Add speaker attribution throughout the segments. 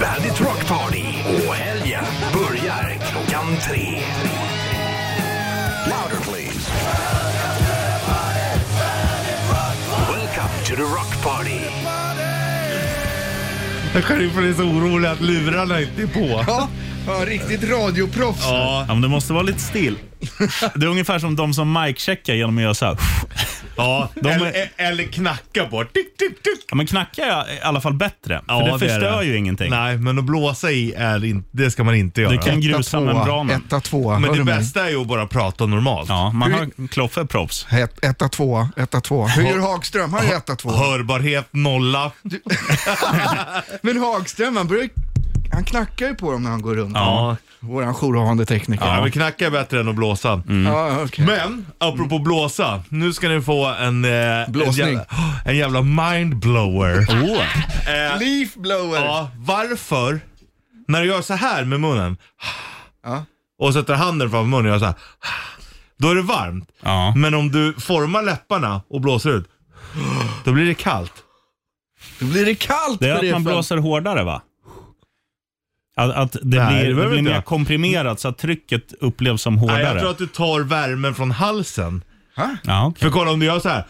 Speaker 1: Bandit Rock Party och helgen börjar klockan tre. Louder please. Welcome to the Rock Party.
Speaker 2: Sheriffen är så orolig att lurarna inte är på.
Speaker 3: Ja, ja riktigt radioproffs.
Speaker 2: Ja,
Speaker 4: Ja, men du måste vara lite still. Det är ungefär som de som mic-checkar genom att göra så här.
Speaker 2: ja.
Speaker 4: De är-
Speaker 2: eller, eller knacka på. Tick, tick, tick.
Speaker 4: Ja, men knacka är i alla fall bättre.
Speaker 2: Ja,
Speaker 4: för
Speaker 2: det är
Speaker 4: det förstör
Speaker 2: det.
Speaker 4: ju ingenting.
Speaker 2: Nej, men att blåsa i är inte, det ska man inte göra.
Speaker 4: Du kan grusa membranen.
Speaker 3: Etta, tvåa.
Speaker 2: Men
Speaker 3: Hör
Speaker 2: det
Speaker 3: du mig?
Speaker 2: bästa är ju att bara prata normalt.
Speaker 4: Ja, man har Kloffe är proffs.
Speaker 3: Het- Etta, tvåa, etta, tvåa. Hur gör Hagström? Han är etta, tvåa.
Speaker 2: Hörbarhet nolla.
Speaker 3: Men Hagström, han, börjar, han knackar ju på dem när han går runt.
Speaker 4: Ja.
Speaker 3: Våran jourhavande tekniker.
Speaker 2: Ja, men knacka är bättre än att blåsa.
Speaker 3: Ja, okej.
Speaker 2: Men, Mm. apropå blåsa. Nu ska ni få en... Eh,
Speaker 3: Blåsning.
Speaker 2: En jävla, en jävla mindblower.
Speaker 4: Oh.
Speaker 2: Eh,
Speaker 3: Leaf blower.
Speaker 2: ja, varför? När du gör så här med munnen
Speaker 3: Ja.
Speaker 2: och sätter handen framför munnen och gör så här. Då är det varmt.
Speaker 4: Ja.
Speaker 2: Men om du formar läpparna och blåser ut, då blir det kallt.
Speaker 3: Då blir det kallt
Speaker 4: Det är
Speaker 3: för
Speaker 4: att man
Speaker 3: fan.
Speaker 4: blåser hårdare va? Att, att det
Speaker 2: Nej, det
Speaker 4: blir, det
Speaker 2: behöver
Speaker 4: blir
Speaker 2: inte
Speaker 4: mer
Speaker 2: jag.
Speaker 4: komprimerat så att trycket upplevs som hårdare.
Speaker 2: Nej, jag tror att du tar värmen från halsen.
Speaker 4: ja, okej.
Speaker 2: För kolla om du gör så här.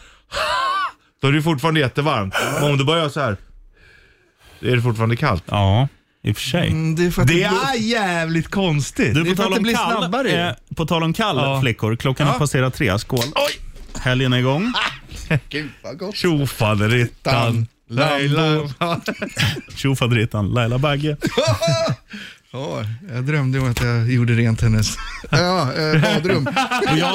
Speaker 2: Då är det fortfarande jättevarmt. Men om du bara gör så här. Då är det fortfarande kallt.
Speaker 4: ja, i och för sig.
Speaker 3: Mm, Det är för att
Speaker 2: Det
Speaker 3: det blå-
Speaker 2: är jävligt konstigt.
Speaker 4: Du,
Speaker 3: Det är för att det blir snabbare ju.
Speaker 4: eh, på tal om kall,
Speaker 2: Ja.
Speaker 4: flickor. Klockan har
Speaker 3: Ja.
Speaker 4: passerat tre. Skål. Helgen är igång.
Speaker 3: Gud vad gott.
Speaker 2: Tjofaderittan. Laila.
Speaker 4: Tjofaderittan, Laila Bagge.
Speaker 3: Ja, jag drömde om att jag gjorde rent hennes ja, eh, badrum.
Speaker 4: Och jag,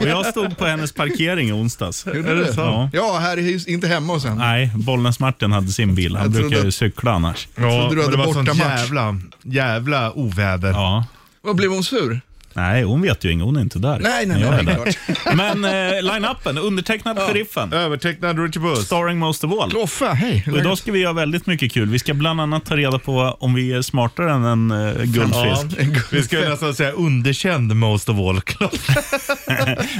Speaker 4: och jag stod på hennes parkering i onsdags.
Speaker 3: Gjorde du?
Speaker 4: Ja.
Speaker 3: Ja, här i hus, inte hemma hos henne.
Speaker 4: Nej, Bollnäs-Martin hade sin bil. Han
Speaker 3: Jag
Speaker 4: brukar
Speaker 3: trodde-
Speaker 4: ju cykla annars.
Speaker 2: Ja,
Speaker 3: du hade
Speaker 2: men det var sånt
Speaker 3: bortamatch.
Speaker 2: jävla, jävla oväder.
Speaker 4: Ja.
Speaker 3: Vad blev hon sur?
Speaker 4: Nej, hon vet ju inget. Hon är inte där.
Speaker 3: Nej, nej,
Speaker 4: Men jag
Speaker 3: nej,
Speaker 4: är
Speaker 3: det är
Speaker 4: där. Men eh, line-upen, undertecknad Sheriffen.
Speaker 2: Övertecknad Richie Puss.
Speaker 4: Starring Most of All.
Speaker 3: Kloffe, hej.
Speaker 4: Och idag ska vi göra väldigt mycket kul. Vi ska bland annat ta reda på om vi är smartare än en eh,
Speaker 2: Ja,
Speaker 4: guldfisk.
Speaker 2: vi ska ju nästan säga underkänd most of all.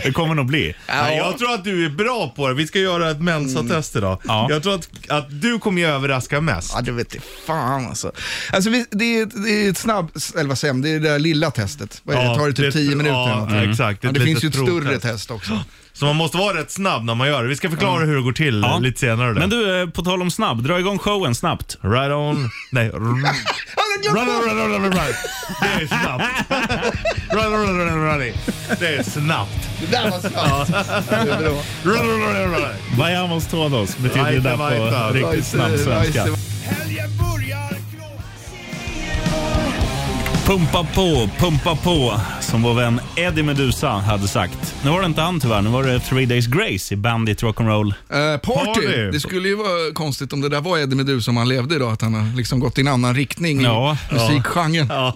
Speaker 4: Det kommer nog bli.
Speaker 2: Nej, jag tror att du är bra på det. Vi ska göra ett mensatest idag.
Speaker 4: Ja.
Speaker 2: Jag tror att, att du kommer ju överraska mest.
Speaker 3: Ja, det vet jag fan alltså. Alltså vi, det, är ett, det är ett snabbt, eller vad säger man, det är det där lilla testet. Vad är det,
Speaker 2: Ja,
Speaker 3: tar det
Speaker 2: det är
Speaker 3: typ
Speaker 2: ett-
Speaker 3: 10 minuter?
Speaker 2: ja,
Speaker 3: eller någonting?
Speaker 2: exakt. Det är
Speaker 3: Ja, det
Speaker 2: ett
Speaker 3: finns ju ett
Speaker 2: litet
Speaker 3: större
Speaker 2: provtest.
Speaker 3: test också.
Speaker 2: Så man måste vara rätt snabb när man gör det. Vi ska förklara hur det går till
Speaker 4: Ja.
Speaker 2: eh, lite senare. där.
Speaker 4: Men du, eh, på tal om snabb, dra igång showen snabbt.
Speaker 2: Right on. Nej. Run,
Speaker 3: Ja,
Speaker 2: run, run, run, run, run. Det är snabbt. Run, run, run, run, run. Det är snabbt.
Speaker 3: Det där var snabbt. Det är bra.
Speaker 2: Run, run, run, run.
Speaker 4: Vajamos todos betyder det
Speaker 2: Vajta,
Speaker 4: där
Speaker 2: vajta.
Speaker 4: på riktigt snabb
Speaker 3: Nice,
Speaker 4: svenska.
Speaker 3: nice.
Speaker 1: Helgen börjar
Speaker 4: Pumpa på, pumpa på, som vår vän Eddie Meduza hade sagt. Nu var det inte han tyvärr, nu var det Three Days Grace i Bandit Rock'n'Roll.
Speaker 3: Eh, party.
Speaker 2: Party.
Speaker 3: Det skulle ju vara konstigt om det där var Eddie Meduza om han levde idag, att han har liksom gått i en annan riktning
Speaker 4: Ja,
Speaker 3: i musikgenren.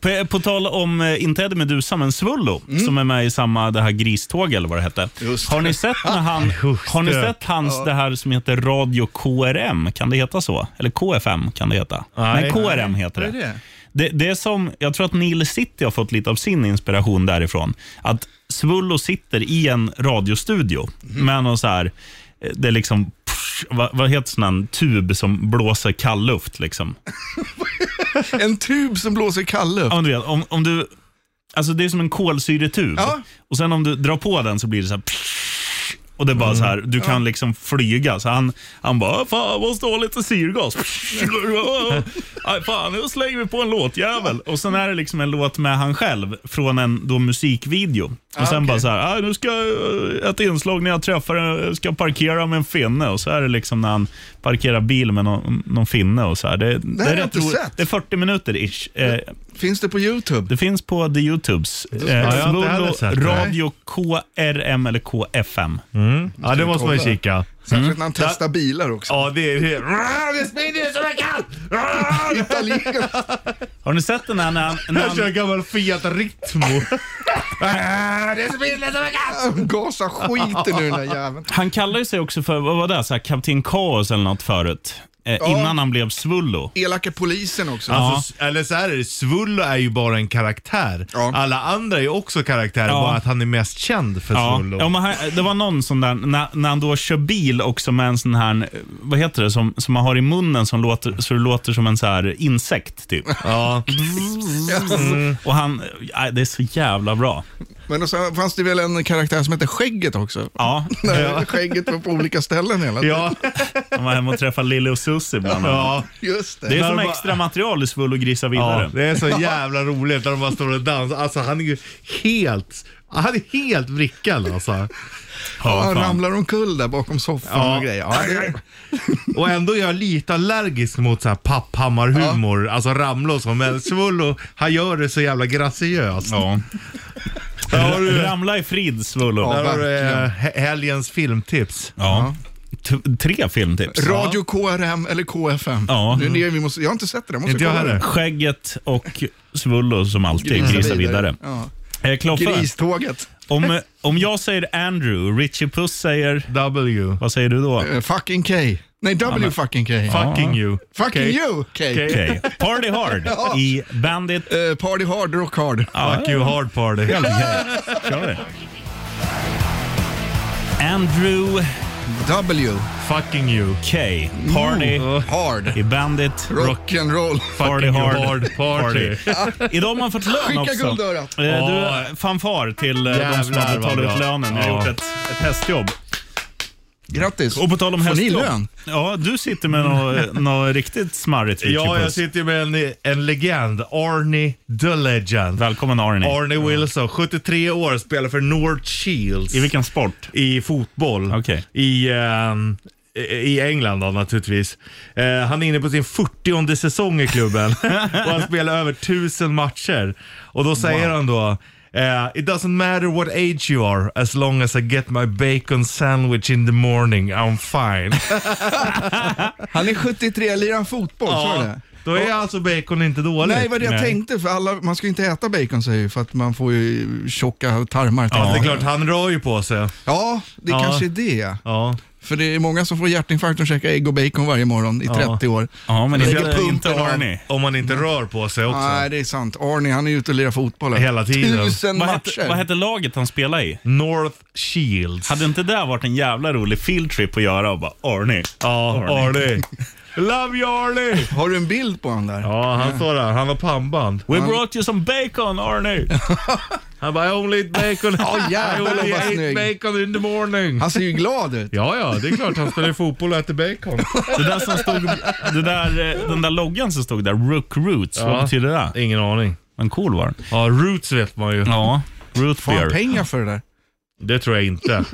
Speaker 4: På, på tal om, eh, inte Eddie Meduza, men Svullo, som är med i samma det här griståg eller vad det hette.
Speaker 3: Mm. Just
Speaker 4: Har ni sett, när han, har ni
Speaker 2: det.
Speaker 4: sett hans, det här som heter Radio KRM? Kan det heta så? Eller KFM kan det heta? Nej,
Speaker 2: Nej.
Speaker 4: KRM heter
Speaker 3: Vad är
Speaker 4: det.
Speaker 3: det?
Speaker 4: Det, det är som, jag tror att Neil City har fått lite av sin inspiration därifrån. Att Svullo sitter i en radiostudio
Speaker 3: Mhm.
Speaker 4: med någon så här, eh, det är liksom, psh, vad, vad heter sån här tub som blåser kall luft liksom?
Speaker 3: En tub som blåser kall luft.
Speaker 4: Ja, men du vet, om, om du, alltså det är som en kolsyretub
Speaker 3: Ja.
Speaker 4: och sen om du drar på den så blir det så här, psh, och det är bara
Speaker 3: Mm.
Speaker 4: så här, du kan liksom flyga. Så han, han bara, fan vad står lite syrgas? Aj, fan, nu slänger vi på en låtjävel. Och sen är det liksom en låt med han själv från en då musikvideo.
Speaker 3: Ah,
Speaker 4: Och sen bara så här, "Aj, nu ska jag- ett inslag när jag träffar en- jag ska parkera med en finne. Och så är det liksom när han parkerar bil med någon, någon finne och så här. Det, det,
Speaker 3: har
Speaker 4: är
Speaker 3: jag
Speaker 4: rätt
Speaker 3: inte
Speaker 4: roligt.
Speaker 3: sett.
Speaker 4: det är 40 minuter ish. Eh,
Speaker 3: Finns det på YouTube?
Speaker 4: det finns på The Youtubes.
Speaker 2: jag
Speaker 4: Eh,
Speaker 2: inte heller
Speaker 4: Svullo,
Speaker 2: sett det.
Speaker 4: Radio KRM eller KFM.
Speaker 2: Ja, det måste man
Speaker 3: kolla.
Speaker 2: kika.
Speaker 3: Särskilt när han testar bilar också.
Speaker 2: Mm. Ja, det är... Det är smidigt som jag kan!
Speaker 3: Italien.
Speaker 4: Har ni sett den här när han... När
Speaker 2: Jag kör
Speaker 4: han
Speaker 2: gammal Fiat Ritmo. Ah, Det är smidigt som jag kan!
Speaker 3: Gasa skiten nu den där jäveln.
Speaker 4: han kallar ju sig också för, vad var det, så här, Kapten Kaos eller något förut. eh, innan han blev svullo.
Speaker 3: Elaka polisen också.
Speaker 2: Alltså, Eller så här är det, Svullo är ju bara en karaktär.
Speaker 3: Ja.
Speaker 2: Alla andra är också karaktärer,
Speaker 4: Ja.
Speaker 2: bara att han är mest känd för
Speaker 4: Ja,
Speaker 2: Svullo.
Speaker 4: ja men han, det var någon sån där, när, när han då kör bil också med en sån här, eh, vad heter det, som, som man har i munnen som låter, så det låter som en så här insekt typ.
Speaker 2: Ja.
Speaker 4: Och han, eh, det är så jävla bra.
Speaker 3: Men och så fanns det väl en karaktär som hette Skägget också?
Speaker 4: Ja,
Speaker 3: När Skägget var på olika ställen hela tiden.
Speaker 2: Ja.
Speaker 4: han var hemma och träffade Lille och Susie bland annat.
Speaker 2: ja.
Speaker 3: Just det.
Speaker 4: Det är
Speaker 2: Men
Speaker 4: som
Speaker 2: bara-
Speaker 4: extra material i Svull och grisa
Speaker 2: Ja,
Speaker 4: vidare.
Speaker 2: det är så jävla roligt när de bara står och dansar. Alltså han är ju helt, han är helt vrickad alltså.
Speaker 3: Han
Speaker 4: fan.
Speaker 3: ramlar omkull där bakom soffan
Speaker 2: Ja.
Speaker 3: och grejer. Ja, det-
Speaker 2: Och ändå är jag lite allergisk mot så här papphammarhumor, alltså ramla och så. Men Svullo, han gör det så jävla graciöst.
Speaker 4: Ja. Ramla i frid, Svullo.
Speaker 3: Ja.
Speaker 2: Där har du
Speaker 3: verkligen.
Speaker 2: eh, he- helgens filmtips.
Speaker 4: Ja. T- tre filmtips.
Speaker 3: Radio KRM eller KFM.
Speaker 4: Ja.
Speaker 3: Det är det vi måste, jag har inte sett det. Jag måste
Speaker 2: Inte jag
Speaker 3: kolla
Speaker 2: heller.
Speaker 3: det.
Speaker 4: Skägget och Svullo som alltid
Speaker 3: Grisa
Speaker 4: grisar vidare.
Speaker 3: vidare. Ja.
Speaker 4: Eh, Kloffe,
Speaker 3: Griståget.
Speaker 4: om, om jag säger Andrew, Richie Puss säger,
Speaker 2: W.
Speaker 4: vad säger du då?
Speaker 3: Eh, fucking K. Nej, W fucking K.
Speaker 2: Fucking you.
Speaker 3: Fucking
Speaker 2: K.
Speaker 3: you, K.
Speaker 4: Okej. Party Hard i Bandit.
Speaker 3: Eh, party hard, rock hard.
Speaker 2: Fuck you hard party.
Speaker 4: Kör det. Andrew
Speaker 3: W,
Speaker 2: Fucking you.
Speaker 4: K. Party
Speaker 3: hard.
Speaker 4: i Bandit.
Speaker 3: Rock'n'roll.
Speaker 4: Party
Speaker 2: Fucking
Speaker 4: hard.
Speaker 2: you party.
Speaker 4: Idag har man fått lön
Speaker 3: Skicka
Speaker 4: också.
Speaker 3: guldörat.
Speaker 4: Eh,
Speaker 2: Ja.
Speaker 4: Du, fanfar till eh, de som
Speaker 2: Jävlar,
Speaker 4: har
Speaker 2: vad
Speaker 4: betalat ut
Speaker 2: bra.
Speaker 4: lönen. Jag har
Speaker 2: Ja.
Speaker 4: gjort ett, ett hästjobb.
Speaker 3: Grattis.
Speaker 4: Och på tal om
Speaker 3: Får ni
Speaker 4: hästjobb.
Speaker 3: lön?
Speaker 4: Ja, du sitter med något nå riktigt smarrigt
Speaker 2: Ja, jag
Speaker 4: Richie Puss.
Speaker 2: sitter ju med en, en legend. Arnie the Legend.
Speaker 4: Välkommen Arne.
Speaker 2: Arnie Wilson, 73 år, spelar för North Shields
Speaker 4: I vilken sport?
Speaker 2: i fotboll.
Speaker 4: Okej.
Speaker 2: I, ehm, i- I England då naturligtvis. Eh, han är inne på sin 40 säsong i klubben och han spelar över 1000 matcher. Och då säger han då eh, It doesn't matter what age you are as long as I get my bacon sandwich in the morning I'm fine.
Speaker 3: Han är 73, lirar han fotboll? Så är det.
Speaker 2: Då är alltså bacon inte dåligt.
Speaker 3: Nej, vad det jag
Speaker 4: Nej.
Speaker 3: tänkte. För alla, man ska ju inte äta bacon säger ju, för att man får ju tjocka tarmar.
Speaker 2: Ja, det är klart, han rör ju på sig.
Speaker 3: Ja, det
Speaker 2: Ja.
Speaker 3: kanske är det.
Speaker 2: Ja.
Speaker 3: För det är många som får hjärtinfarkt och käkar ägg och bacon varje morgon i 30 år.
Speaker 4: Ja, men
Speaker 3: Lägger
Speaker 4: inte,
Speaker 3: pumpen
Speaker 4: inte
Speaker 3: av.
Speaker 4: Arne.
Speaker 2: Om man inte rör på sig också.
Speaker 3: Nej, det är sant. Arne, han är ute och lirar fotboll. här.
Speaker 2: Hela tiden.
Speaker 3: Tusen
Speaker 4: Vad hette,
Speaker 3: matcher.
Speaker 4: vad hette laget han spelade i?
Speaker 2: North Shields.
Speaker 4: Hade inte det varit en jävla rolig fieldtrip att göra och bara Arne.
Speaker 2: Ja, Arlie. Love you Arlie!
Speaker 3: Har du en bild på honom där?
Speaker 2: Ja, han står där. Han har pannband.
Speaker 4: We brought you some bacon Arne.
Speaker 2: Han bara, I only eat bacon.
Speaker 3: Ja, jävlar,
Speaker 2: I only
Speaker 3: vad
Speaker 2: eat
Speaker 3: snygg.
Speaker 2: bacon in the morning.
Speaker 3: Han ser ju glad ut.
Speaker 2: Ja, ja, det är klart han spelar fotboll och äter bacon.
Speaker 4: Det där som stod, det där, eh, den där loggan som stod där, Rook Roots,
Speaker 2: Ja.
Speaker 4: vad betyder det?
Speaker 2: Ingen aning.
Speaker 4: Men cool var den.
Speaker 2: Ja, roots vet man ju.
Speaker 4: Ja, root
Speaker 3: Får han
Speaker 4: beer.
Speaker 3: pengar för det där?
Speaker 2: Det tror jag inte.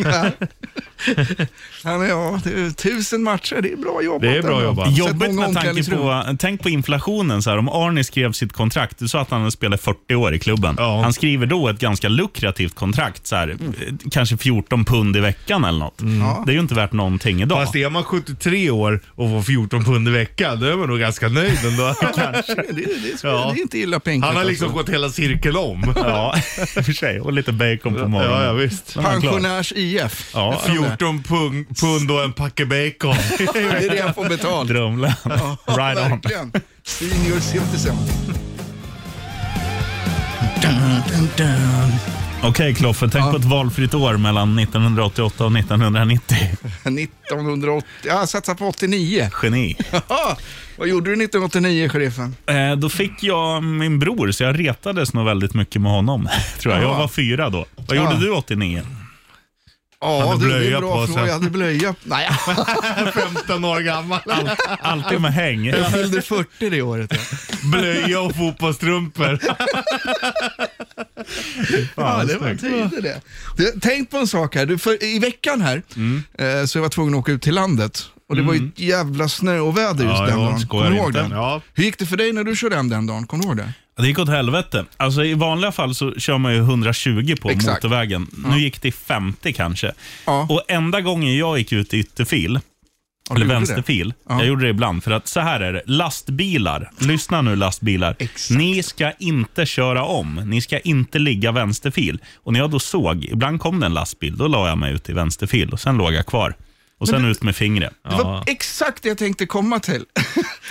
Speaker 3: Han är, ja, det är tusen matcher, det är bra jobbat.
Speaker 2: Det är bra
Speaker 3: ändå.
Speaker 2: jobbat.
Speaker 3: Sett
Speaker 4: Jobbigt
Speaker 3: många
Speaker 4: med tanke
Speaker 3: omklädningsrum.
Speaker 4: på, tänk på inflationen. Så här, om Arne skrev sitt kontrakt, du sa att han hade spelat 40 år i klubben.
Speaker 2: Ja.
Speaker 4: Han skriver då ett ganska lukrativt kontrakt, så här, eh, kanske 14 pund i veckan eller något.
Speaker 3: Ja.
Speaker 4: Det är ju inte värt någonting idag.
Speaker 2: Mm. Fast är man 73 år och får 14 pund i veckan, då är man nog ganska nöjd ändå.
Speaker 3: Det, det, det,
Speaker 2: Ja.
Speaker 3: det är inte illa pengar.
Speaker 2: Han har liksom gått hela cirkeln om.
Speaker 4: Ja, i och för sig. Och lite bacon på morgonen.
Speaker 2: Ja, ja visst.
Speaker 4: är han klar.
Speaker 3: Pensionärs IF.
Speaker 4: Ja,
Speaker 3: Jag tror det.
Speaker 2: 14 pung, pund och en packe bacon.
Speaker 3: Det är det han får betalt.
Speaker 4: Drömlän. Right on.
Speaker 3: Verkligen. Senior citizen. Dun, dun, dun.
Speaker 4: Okej Kloffe, tänk på ett valfritt år mellan 1988 och 1990.
Speaker 3: 1980, ja, satsa på 89.
Speaker 4: Geni.
Speaker 3: Haha, Vad gjorde du 1989, sheriffen?
Speaker 4: Eh, då fick jag min bror, så jag retades nog väldigt mycket med honom. Tror jag. jag
Speaker 3: Ja.
Speaker 4: var fyra då. Vad
Speaker 3: Ja.
Speaker 4: gjorde du 89?
Speaker 3: Ja,
Speaker 2: hade
Speaker 3: du, det är
Speaker 2: blöja
Speaker 3: en bra
Speaker 2: på
Speaker 3: fråga.
Speaker 2: sig.
Speaker 3: Jag hade blöja. Nej,
Speaker 2: 15 år gammal.
Speaker 4: Alltid med häng.
Speaker 3: jag fyllde 40 det året. Ja.
Speaker 2: Blöja och fotbollstrumpor.
Speaker 3: Ja, det var tider det. Du, tänk på en sak här. Du, för, I veckan här
Speaker 2: Mm.
Speaker 3: eh, så jag var tvungen att åka ut till landet. Och det var ju ett jävla snöoväder just
Speaker 2: Ja,
Speaker 3: den
Speaker 2: ja,
Speaker 3: dagen.
Speaker 4: skojar
Speaker 3: Kommer du ihåg
Speaker 4: inte.
Speaker 3: den?
Speaker 2: Ja.
Speaker 3: Hur gick det för dig när du körde hem den dagen? Kommer du ihåg det?
Speaker 4: Det gick åt helvete. Alltså, I vanliga fall så kör man ju 120 på
Speaker 3: Exakt.
Speaker 4: motorvägen. Nu gick det i 50 kanske.
Speaker 3: Ja.
Speaker 4: Och Enda gången jag gick ut i ytterfil,
Speaker 3: Ja, du
Speaker 4: eller
Speaker 3: gjorde
Speaker 4: vänsterfil, jag gjorde det ibland. För att så här är det, lastbilar, lyssna nu lastbilar.
Speaker 3: Exakt.
Speaker 4: Ni ska inte köra om, ni ska inte ligga vänsterfil. Och när jag då såg, ibland kom det en lastbil, då la jag mig ut i vänsterfil och sen låg jag kvar. Och sen ut med fingret.
Speaker 3: Det var exakt det jag tänkte komma till.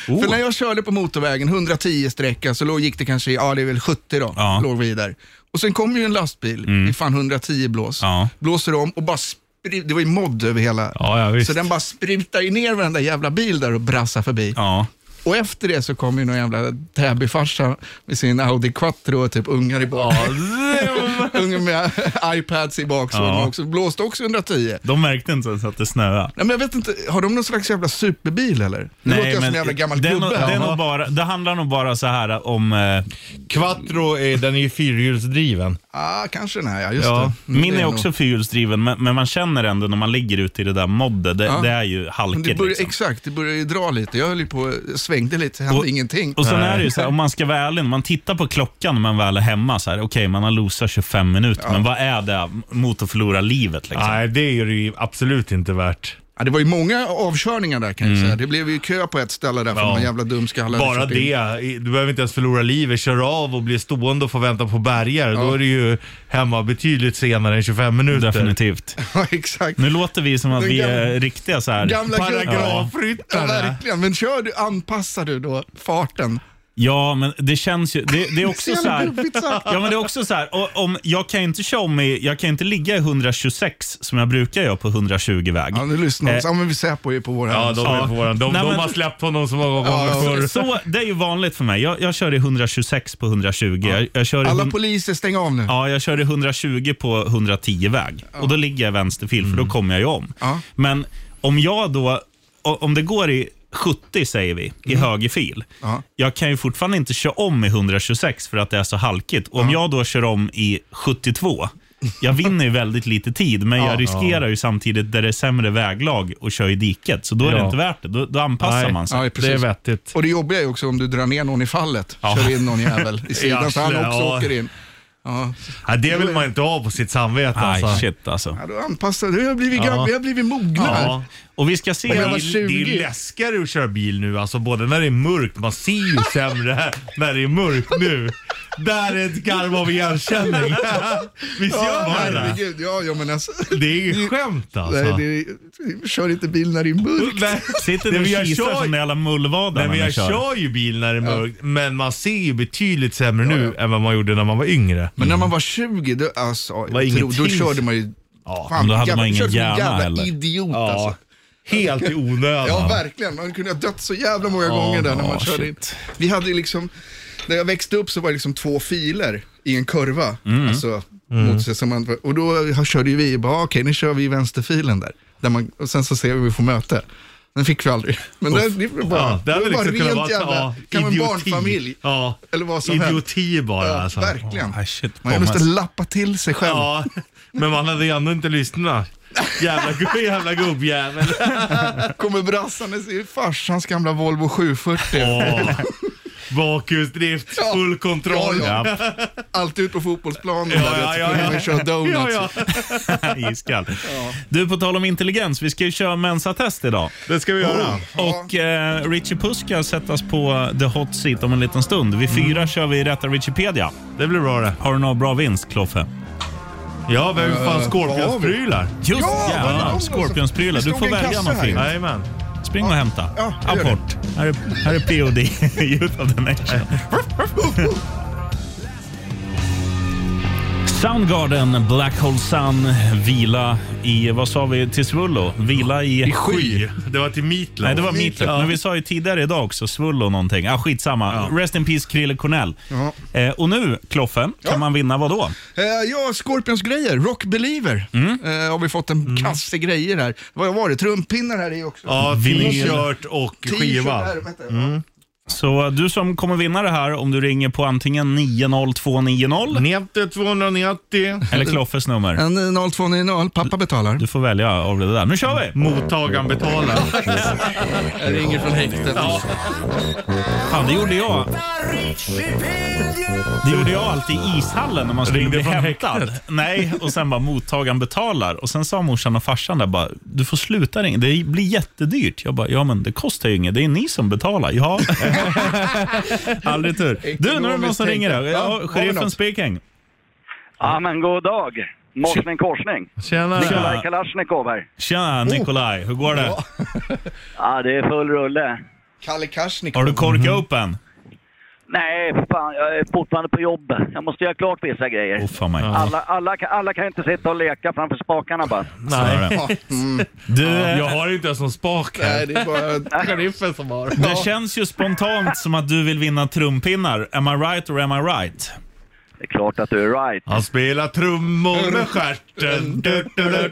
Speaker 3: För
Speaker 4: Oh.
Speaker 3: när jag körde på motorvägen, 110 sträcka, så låg, gick det kanske, i- ja det är väl 70 då,
Speaker 4: Ja. Mm.
Speaker 3: låg vi där. Och sen kom ju en lastbil i fan 110 blås,
Speaker 4: Ja.
Speaker 3: blåser om och bara spri- det var ju modd över hela.
Speaker 2: Ja, ja, visst.
Speaker 3: så den bara sprutar ju ner varenda jävla bil där och brassar förbi.
Speaker 4: Ja.
Speaker 3: Och efter det så kom ju någon jävla Täbyfarsa med sin Audi Quattro och typ ungar i bak. ungar med iPads i bak. så
Speaker 4: Ja.
Speaker 3: de också, blåste också 110.
Speaker 4: De märkte inte ens att det snöade.
Speaker 3: Nej, men jag vet inte, har de någon slags jävla superbil eller? Nu låter jag som en jävla gammal
Speaker 4: det, är nog-
Speaker 3: gubbe.
Speaker 4: det, är
Speaker 3: Ja.
Speaker 4: nog bara, det handlar nog bara så här om... Eh,
Speaker 2: Quattro, är, den är ju fyrhjulsdriven.
Speaker 3: ah, kanske den här ja, just
Speaker 4: ja,
Speaker 3: det. Mm,
Speaker 4: min
Speaker 3: det
Speaker 4: är
Speaker 3: nog.
Speaker 4: också fyrhjulsdriven, men, men man känner ändå när man ligger ute i det där moddet, det,
Speaker 3: Ja.
Speaker 4: det är ju
Speaker 3: Men det
Speaker 4: halkigt.
Speaker 3: börjar,
Speaker 4: liksom.
Speaker 3: Exakt, det börjar ju dra lite. Jag höll ju på, svängde lite, hände
Speaker 4: Och-
Speaker 3: ingenting.
Speaker 4: Och sen är det ju så här, om man ska vara ärlig, när man tittar på klockan när man väl är hemma, så här, okej, man har losat 25 minuter, men vad är det mot att förlora livet? Liksom?
Speaker 2: Nej, det är det ju absolut inte värt.
Speaker 3: ja, det var ju många avkörningar där kan jag
Speaker 4: Mm.
Speaker 3: säga. Det blev ju kö på ett ställe där för någon jävla dumskalle. hade
Speaker 2: Bara
Speaker 3: kört in.
Speaker 2: det, du behöver inte ens förlora livet. Kör av och bli stående och få vänta på bärgare. Då är du ju hemma betydligt senare än 25 minuter.
Speaker 4: Definitivt.
Speaker 3: Ja, exakt.
Speaker 4: Nu låter vi som att
Speaker 3: Den
Speaker 4: vi
Speaker 3: gamla-
Speaker 4: är riktiga så här.
Speaker 3: gamla
Speaker 4: ja.
Speaker 3: Ja,
Speaker 2: Paragrafryttare.
Speaker 3: verkligen. Men kör du, anpassar du då farten?
Speaker 4: ja, men det känns ju... Det, det är också så här...
Speaker 3: gubbigt sagt.
Speaker 4: Ja, men det är också så här, o- om, jag kan ju inte köra om i, jag kan ju inte ligga i 126 som jag brukar göra på 120-väg.
Speaker 3: Ja, nu lyssnar de.
Speaker 4: Eh.
Speaker 3: Ja, men vi Säpo är ju på vår
Speaker 2: Ja,
Speaker 3: hand.
Speaker 2: de, är på våran. de,
Speaker 4: Nej,
Speaker 2: de
Speaker 4: men-
Speaker 2: har släppt honom så många gånger
Speaker 3: Ja, ja.
Speaker 2: förr.
Speaker 4: Så det är ju vanligt för mig. Jag, jag kör i 126 på 120. Jag, jag kör i
Speaker 3: Alla
Speaker 4: hun-
Speaker 3: poliser, stäng av nu.
Speaker 4: Ja, jag körde 120 på 110-väg och då ligger jag i vänsterfil för då kommer jag ju om.
Speaker 3: Ja.
Speaker 4: Men om jag då, o- om det går i 70 säger vi, i högerfil.
Speaker 3: Ja.
Speaker 4: Jag kan ju fortfarande inte köra om i 126 för att det är så halkigt. Och om jag då kör om i 72, jag vinner ju väldigt lite tid, men jag riskerar ju samtidigt där det är sämre väglag och kör i diket. Så då är det
Speaker 2: Ja.
Speaker 4: inte värt det. Då, då anpassar
Speaker 2: Nej.
Speaker 4: man sig.
Speaker 3: Ja,
Speaker 2: det är vettigt.
Speaker 3: Och det jobbiga är också om du drar ner någon i fallet.
Speaker 4: Ja.
Speaker 3: Kör in någon jävel i sidan så han
Speaker 2: Jäklar,
Speaker 3: också
Speaker 2: ja.
Speaker 3: åker in. Ja.
Speaker 2: Ja, det vill man inte ha på sitt samvete
Speaker 4: Aj,
Speaker 2: alltså.
Speaker 4: shit alltså.
Speaker 3: Ja, då anpassar du. Jag har blivit, gammal, jag har blivit mognare.
Speaker 2: Ja.
Speaker 4: Och vi ska se...
Speaker 2: Det
Speaker 3: jag var
Speaker 2: är, det
Speaker 3: 20.
Speaker 2: är läskigare att köra bil nu, alltså både när det är mörkt, man ser ju sämre här, när det är mörkt nu. Där är ett garv av igenkänning. Visst gör man det?
Speaker 3: herregud. Ja, ja, men alltså.
Speaker 2: Det är inget skämt alltså.
Speaker 3: Nej, det är, kör inte bil när det är
Speaker 4: Mm.
Speaker 3: mörkt.
Speaker 2: Nej.
Speaker 4: Sitter
Speaker 2: Nej,
Speaker 4: du och
Speaker 2: men jag
Speaker 4: kisar
Speaker 2: kör-
Speaker 4: som en jävla mullvada
Speaker 2: Nej,
Speaker 4: när
Speaker 2: men
Speaker 4: ni
Speaker 2: jag
Speaker 4: kör?
Speaker 2: kör ju bil när det är mörkt, men man ser ju betydligt sämre nu än vad man gjorde när man var yngre.
Speaker 3: Men när man var 20, då, alltså, jag tror, då
Speaker 2: ingenting.
Speaker 3: körde man ju... fan,
Speaker 4: då hade
Speaker 3: jävla-
Speaker 4: man ingen
Speaker 3: körde som en
Speaker 4: hjärna
Speaker 3: jävla
Speaker 4: heller.
Speaker 3: idiot alltså.
Speaker 2: Ja, helt i onödan.
Speaker 3: Ja, verkligen. Man kunde ha dött så jävla många gånger där när man
Speaker 4: ja,
Speaker 3: körde in.
Speaker 4: shit.
Speaker 3: Vi hade ju liksom, när jag växte upp så var det liksom två filer i en kurva.
Speaker 2: Mm.
Speaker 3: Alltså, mot sig som man, och då körde ju vi bara, "Ah, okej nu kör vi i vänsterfilen där. där man, och sen så ser vi om vi får möte. Den fick vi aldrig. Men där, det var bara,
Speaker 2: Ja, det hade
Speaker 3: var bara
Speaker 2: liksom kunnat vara
Speaker 3: jävla,
Speaker 2: ja,
Speaker 3: kan vara en
Speaker 2: idioti.
Speaker 3: barnfamilj.
Speaker 2: Ja,
Speaker 3: Eller vad som helst.
Speaker 2: idioti bara
Speaker 3: Ja,
Speaker 2: alltså.
Speaker 3: Verkligen.
Speaker 4: Ah, shit,
Speaker 3: man måste
Speaker 4: Thomas.
Speaker 3: lappa till sig själv.
Speaker 2: Ja, men man hade ju ändå inte lyssnat. Jävla, gu- jävla gubbjävel.
Speaker 3: Kommer brassandes i farsans gamla Volvo 740.
Speaker 2: Åh, Bakhusdrift,
Speaker 3: Ja.
Speaker 2: full kontroll.
Speaker 3: Ja,
Speaker 4: Ja,
Speaker 3: Alltid ut på fotbollsplanen
Speaker 2: Ja,
Speaker 3: där,
Speaker 2: ja,
Speaker 3: vet du,
Speaker 2: ja,
Speaker 3: kunde
Speaker 2: ja.
Speaker 3: man köra donuts.
Speaker 2: Ja, ja.
Speaker 4: iskall. Du, på tal om intelligens, vi ska ju köra mensa-test idag.
Speaker 2: Det ska vi göra.
Speaker 4: Och eh, Richie Puss ska sättas på the hot seat om en liten stund. Vid fyra kör vi Rätta Wikipedia.
Speaker 2: Det blir bra det.
Speaker 4: Har du någon bra vinst, Kloffe?
Speaker 2: Ja, vem fan Scorpions-prylar?
Speaker 4: Just
Speaker 3: Ja, vad är det
Speaker 4: jävlar!
Speaker 3: om
Speaker 4: Scorpions-prylar.
Speaker 3: alltså?
Speaker 4: Du
Speaker 3: Det stod
Speaker 4: får
Speaker 3: en
Speaker 4: välja
Speaker 3: kasse
Speaker 4: någonting.
Speaker 3: här
Speaker 2: Jajamän.
Speaker 4: Spring och hämta.
Speaker 3: Ja, jag gör det.
Speaker 4: Apport. Här är, här är POD, Youth of the Nation. Soundgarden, Black Hole Sun, vila i, vad sa vi till Svullo? Vila i...
Speaker 2: Sky. Det var till Meatloaf.
Speaker 4: Nej, det var Meatloaf. Men vi sa ju tidigare idag också, Svullo någonting. Ah, skitsamma. Rest in peace, Krille Cornell.
Speaker 3: Ja.
Speaker 4: Eh, och nu, Kloffe, kan man vinna vad då?
Speaker 3: Eh, ja, Scorpions grejer, Rock Believer.
Speaker 2: Mm.
Speaker 3: Eh, har vi fått en kasse grejer här. Vad var det? Trumpinnar här i också.
Speaker 2: Ja,
Speaker 4: Vinyl.
Speaker 2: t-shirt och
Speaker 3: T-shirt
Speaker 2: skiva.
Speaker 3: här, vänta, ja.
Speaker 4: Så du som kommer vinna det här, om du ringer på antingen 90290
Speaker 2: 90 290.
Speaker 4: eller Kloffes nummer.
Speaker 2: Mm.
Speaker 3: En eh, 0290, pappa betalar.
Speaker 4: Du får välja av det där. Nu kör vi!
Speaker 2: Mottagaren betalar.
Speaker 3: Jag ringer från häktet.
Speaker 4: Fan, det gjorde jag. Det gjorde jag alltid i ishallen när man skulle
Speaker 2: Ringde
Speaker 4: bli
Speaker 2: från
Speaker 4: hämtad. Nej, och sen bara mottagaren betalar. Och sen sa morsan och farsan där bara, du får sluta ringa. Det blir jättedyrt. Jag bara, ja men det kostar ju inget. Det är ni som betalar. Ja. Aldrig tur. Du, nu är det någon som ringer. här.
Speaker 3: Ja, har
Speaker 4: Ja,
Speaker 3: vi
Speaker 4: sheriffen
Speaker 3: något?
Speaker 4: speaking.
Speaker 5: Ja, men god dag. Morsning korsning.
Speaker 2: Tjena!
Speaker 5: Nikolaj Kalashnikov här.
Speaker 2: Oh.
Speaker 4: Tja Nikolaj, hur går det?
Speaker 5: Ja, det är full rulle.
Speaker 3: Kalle Karsnikov.
Speaker 4: Har du korkat upp än?
Speaker 5: Nej, för fan. Jag är fortfarande på jobb. Jag måste göra klart vissa grejer.
Speaker 4: Åh Oh, fan mig.
Speaker 5: Alla, alla, kan- alla kan inte sitta och leka framför spakarna bara.
Speaker 4: Snarare.
Speaker 2: Nej.
Speaker 4: Du,
Speaker 2: Mm. Jag har inte ens någon spak här.
Speaker 3: Nej, det är bara...
Speaker 2: Sheriffen som har.
Speaker 4: det känns ju spontant som att du vill vinna trumpinnar. Am I right or am I right?
Speaker 5: Det är klart att du är right.
Speaker 2: Han spelar trummor med stjärten. Du, du, du, du, du.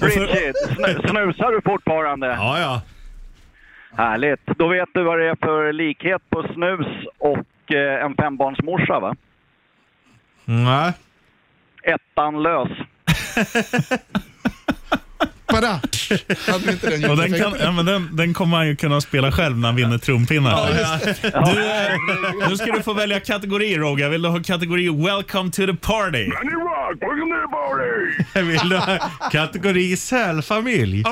Speaker 5: Bridget, snu- snusar du fortfarande?
Speaker 2: Ja, ja.
Speaker 5: Härligt. Då vet du vad det är för likhet på snus och eh, en fembarnsmorsa, va?
Speaker 2: Nej.
Speaker 5: Ettan lös.
Speaker 3: Bada! Hade vi inte den
Speaker 4: Och den, kan, ja, men den, den kommer han ju kunna spela själv när han vinner trumpinnar. Du, eh, nu ska du få välja kategori Roger. Vill du ha kategori Welcome to the party?
Speaker 2: Vill du ha kategori sälfamilj?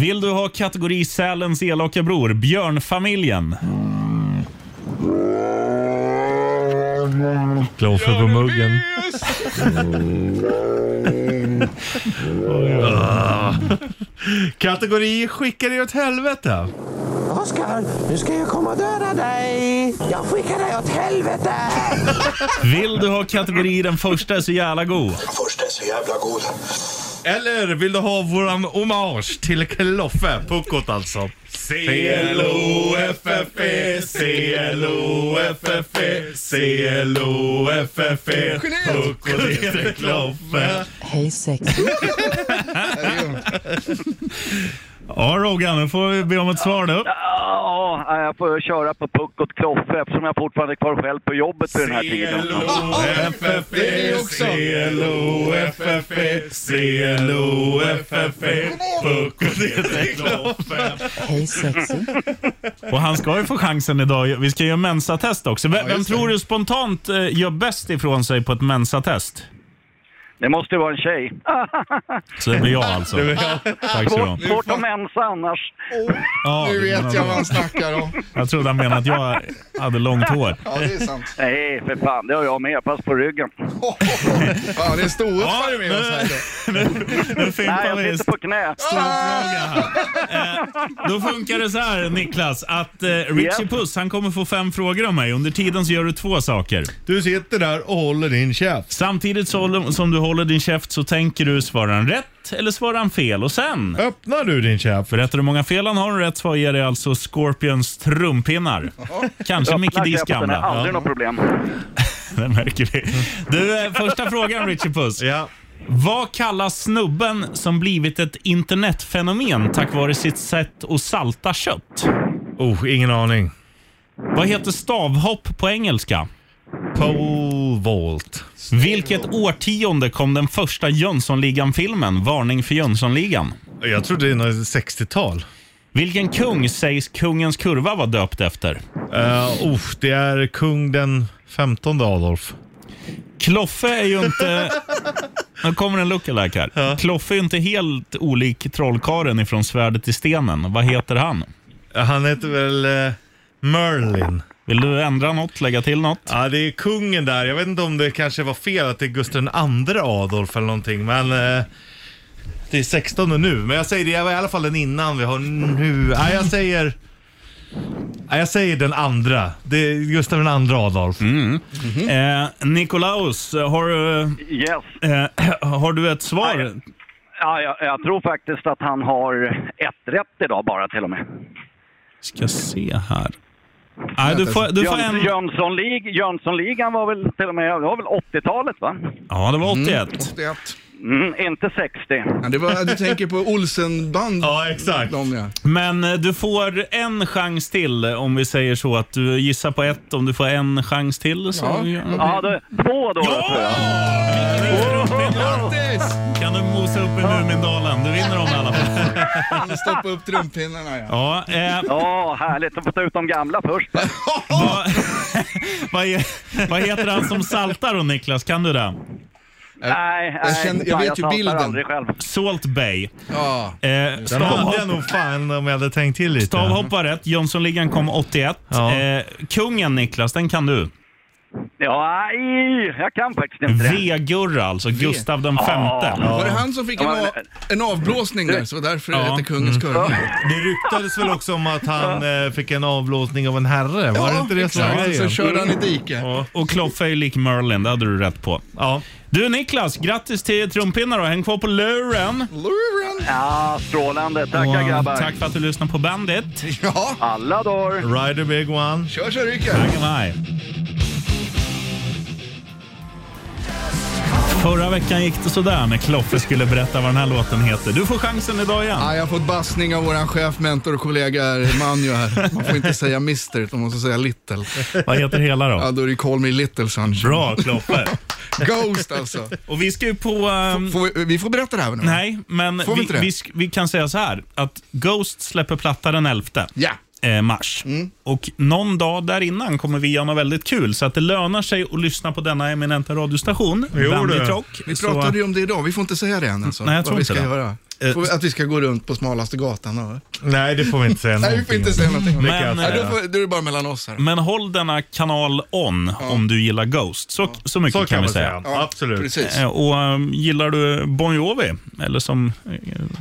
Speaker 4: Vill du ha kategori Sälens elaka bror? Björnfamiljen?
Speaker 2: Kloffer på muggen. Ah. Kategori skicka dig åt helvete.
Speaker 6: Oskar, nu ska jag komma och döda dig! Jag skickar dig åt helvete!
Speaker 4: Vill du ha kategori Den första är så jävla god?
Speaker 6: Först är så jävla god.
Speaker 2: Eller vill du ha våran hommage till Kloffe? Puckot alltså. C-L-O-F-F-E, C-L-O-F-F-E, C-L-O-F-F-E. Puckot heter Kloffe.
Speaker 7: Hej sex.
Speaker 4: Ja Roger, nu får vi be om ett svar då.
Speaker 5: Ja, jag får köra på puck och kloffe eftersom jag fortfarande är kvar själv på jobbet vid den här tiden.
Speaker 2: C-L-O-F-F-E, C-L-O-F-F-E, C-L-O-F-F-E. E, Puckot heter Kloffe.
Speaker 7: Hej sexy.
Speaker 4: Och han ska ju få chansen idag. Vi ska göra mensatest också. Vem, vem
Speaker 3: just det.
Speaker 4: tror du spontant eh, gör bäst ifrån sig på ett mensatest?
Speaker 5: Det måste ju vara en tjej.
Speaker 4: Så det blir jag alltså. Tack ska du ha.
Speaker 5: Svårt att mensa annars.
Speaker 4: Ja,
Speaker 3: Nu vet jag vad
Speaker 4: jag,
Speaker 3: han snackar om.
Speaker 4: jag trodde han menade att jag hade långt hår.
Speaker 3: Ja, det är sant.
Speaker 5: Nej, för fan. Det har jag med. Pass på ryggen.
Speaker 3: Ja, det är storutfall med oss här idag.
Speaker 4: Nu
Speaker 5: Nej,
Speaker 4: fimpar vi
Speaker 5: jag sitter på knä.
Speaker 4: fråga här. Eh, Då funkar det så här Niklas, att eh, Richie
Speaker 5: Yes.
Speaker 4: Puss han kommer få fem frågor av mig. Under tiden så gör du två saker.
Speaker 2: Du sitter där och håller din käft.
Speaker 4: Samtidigt så- som du håller din käft så tänker du, svarar han rätt eller svarar han fel? Och sen
Speaker 2: Öppnar du din käft?
Speaker 4: För rätt hur många fel han har och rätt svar ger dig alltså Scorpions trumpinnar. Kanske Micke D's
Speaker 5: Den är
Speaker 4: gamla.
Speaker 5: aldrig något problem.
Speaker 4: det märker vi. Du, eh, första frågan Richie Puss.
Speaker 2: Ja.
Speaker 4: Vad kallas snubben som blivit ett internetfenomen tack vare sitt sätt att salta kött?
Speaker 2: Oh, ingen aning.
Speaker 4: Vad heter stavhopp på engelska?
Speaker 2: Pole vault.
Speaker 4: Vilket årtionde kom den första Jönssonligan-filmen, Varning för Jönssonligan?
Speaker 2: Jag trodde det var 60-tal.
Speaker 4: Vilken kung sägs Kungens Kurva vara döpt efter?
Speaker 2: Uh, det är kung den 15 Adolf.
Speaker 4: Kloffe är ju inte... Nu kommer en lookalike här. Kloffe är ju inte helt olik trollkaren ifrån Svärdet i stenen. Vad heter han?
Speaker 2: Eh, Han heter väl eh, Merlin.
Speaker 4: Vill du ändra något, lägga till något?
Speaker 2: Ja, det är kungen där. Jag vet inte om det kanske var fel att det är Gustav II Adolf eller någonting, men eh, det är 16 nu. Men jag säger det, jag var i alla fall den innan vi har nu. Nej, jag säger... Nej, jag säger den andra. Det är Gustav II Adolf.
Speaker 4: Eh, Nikolaus, har, du-
Speaker 5: Yes.
Speaker 4: eh, har du ett svar?
Speaker 5: Ja, jag, jag tror faktiskt att han har ett rätt idag bara till och med.
Speaker 4: Ska se här. Nej, du får, du får
Speaker 5: Jöns,
Speaker 4: en...
Speaker 5: Jönssonlig, Jönssonligan var väl till och med, det var väl 80-talet va?
Speaker 4: Ja, det var 81.
Speaker 3: Det är att-
Speaker 5: Mm, inte 60.
Speaker 3: Ja, det var, du tänker på Olsenband.
Speaker 2: Ja, exakt.
Speaker 3: De, ja.
Speaker 4: Men eh, du får en chans till eh, om vi säger så att du gissar på ett. Om du får en chans till så...
Speaker 3: Ja.
Speaker 5: Ja, det, två då tror jag.
Speaker 3: Grattis!
Speaker 4: Kan du mosa upp i Mumindalen? Du vinner dem i alla fall.
Speaker 3: Han stoppade upp trumpinnarna ja.
Speaker 4: Ja, eh,
Speaker 5: Ja, härligt. Att få ta ut de gamla först.
Speaker 4: vad, vad, he- vad heter han som saltar då Niklas? Kan du det?
Speaker 5: Nej,
Speaker 3: Jag
Speaker 5: nej,
Speaker 3: känner- jag
Speaker 5: fan,
Speaker 3: vet ju
Speaker 5: saltar
Speaker 3: bilden.
Speaker 5: aldrig själv.
Speaker 4: Salt Bay.
Speaker 3: Ja.
Speaker 4: Eh,
Speaker 2: Den hade jag
Speaker 4: Stavhopp,
Speaker 2: nog fan om jag hade tänkt till lite.
Speaker 4: stavhopp var rätt. Jönssonligan kom 81.
Speaker 2: Ja.
Speaker 4: Eh, kungen Niklas, den kan du.
Speaker 5: Ja, nej, jag kan faktiskt inte det.
Speaker 4: V-Gurra alltså, Gustav den femte.
Speaker 3: Var det han som fick en,
Speaker 5: Ja, men-
Speaker 3: av, en avblåsning där? Så därför
Speaker 4: Ja.
Speaker 3: hette Kungens kurva.
Speaker 2: Det ryktades väl också om att han eh, fick en avblåsning av en herre? Var det inte det som var
Speaker 3: exakt. Så
Speaker 2: grejen?
Speaker 3: körde han i diket.
Speaker 4: Och Kloffe är lik Merlin, det hade du rätt på.
Speaker 2: Ja.
Speaker 4: Du Niklas, grattis till trumpinnar och häng kvar på luren.
Speaker 3: Luren!
Speaker 5: Ja, strålande. Tackar
Speaker 4: Och, eh,
Speaker 5: grabbar.
Speaker 4: Tack för att du lyssnade på Bandit.
Speaker 3: Ja,
Speaker 5: Alla dagar.
Speaker 2: Ride a big one.
Speaker 3: kör så ryker.
Speaker 4: Tack mig. Förra veckan gick det sådär när Kloffe skulle berätta vad den här låten heter. Du får chansen idag igen.
Speaker 3: Ja, jag har fått bassning av våran chef, mentor och kollega Manjo här. Man får inte säga mister, utan man måste säga little.
Speaker 4: Vad heter hela
Speaker 3: Ja,
Speaker 4: då?
Speaker 3: då är det call me little sunshine.
Speaker 4: Bra Kloffe.
Speaker 3: Ghost alltså.
Speaker 4: Och vi ska ju på... ehm,
Speaker 3: Får vi, vi får berätta det här nu.
Speaker 4: Nej, men
Speaker 3: Får vi
Speaker 4: vi,
Speaker 3: inte det?
Speaker 4: vi, sk- vi kan säga så här att Ghost släpper platta den 11
Speaker 3: Ja. Mm.
Speaker 4: eh, mars. Och någon dag där innan kommer vi göra något väldigt kul, så att det lönar sig att lyssna på denna eminenta radiostation,
Speaker 2: Jo,
Speaker 4: Bandit
Speaker 2: du.
Speaker 4: Rock.
Speaker 3: Vi
Speaker 4: Så- Mm.
Speaker 3: pratade ju om det idag, vi får inte säga det än alltså.
Speaker 4: Nej, jag tror
Speaker 3: vad vi
Speaker 4: inte
Speaker 3: ska
Speaker 4: det.
Speaker 3: göra.
Speaker 4: Eh,
Speaker 3: Får vi, att vi ska gå runt på smalaste gatan. Och...
Speaker 2: Nej, det får vi inte säga
Speaker 3: Nej, vi får inte säga någonting om det.
Speaker 4: Men, Mm.
Speaker 3: Nej,
Speaker 4: eh,
Speaker 3: då, får, då är det bara mellan oss här.
Speaker 4: Men håll denna kanal on om du gillar Ghost. Så, så mycket
Speaker 2: Så
Speaker 4: kan, vi säga.
Speaker 2: säga. Absolut.
Speaker 3: Precis.
Speaker 4: Eh, Och ehm, gillar du Bon Jovi, eller som eh,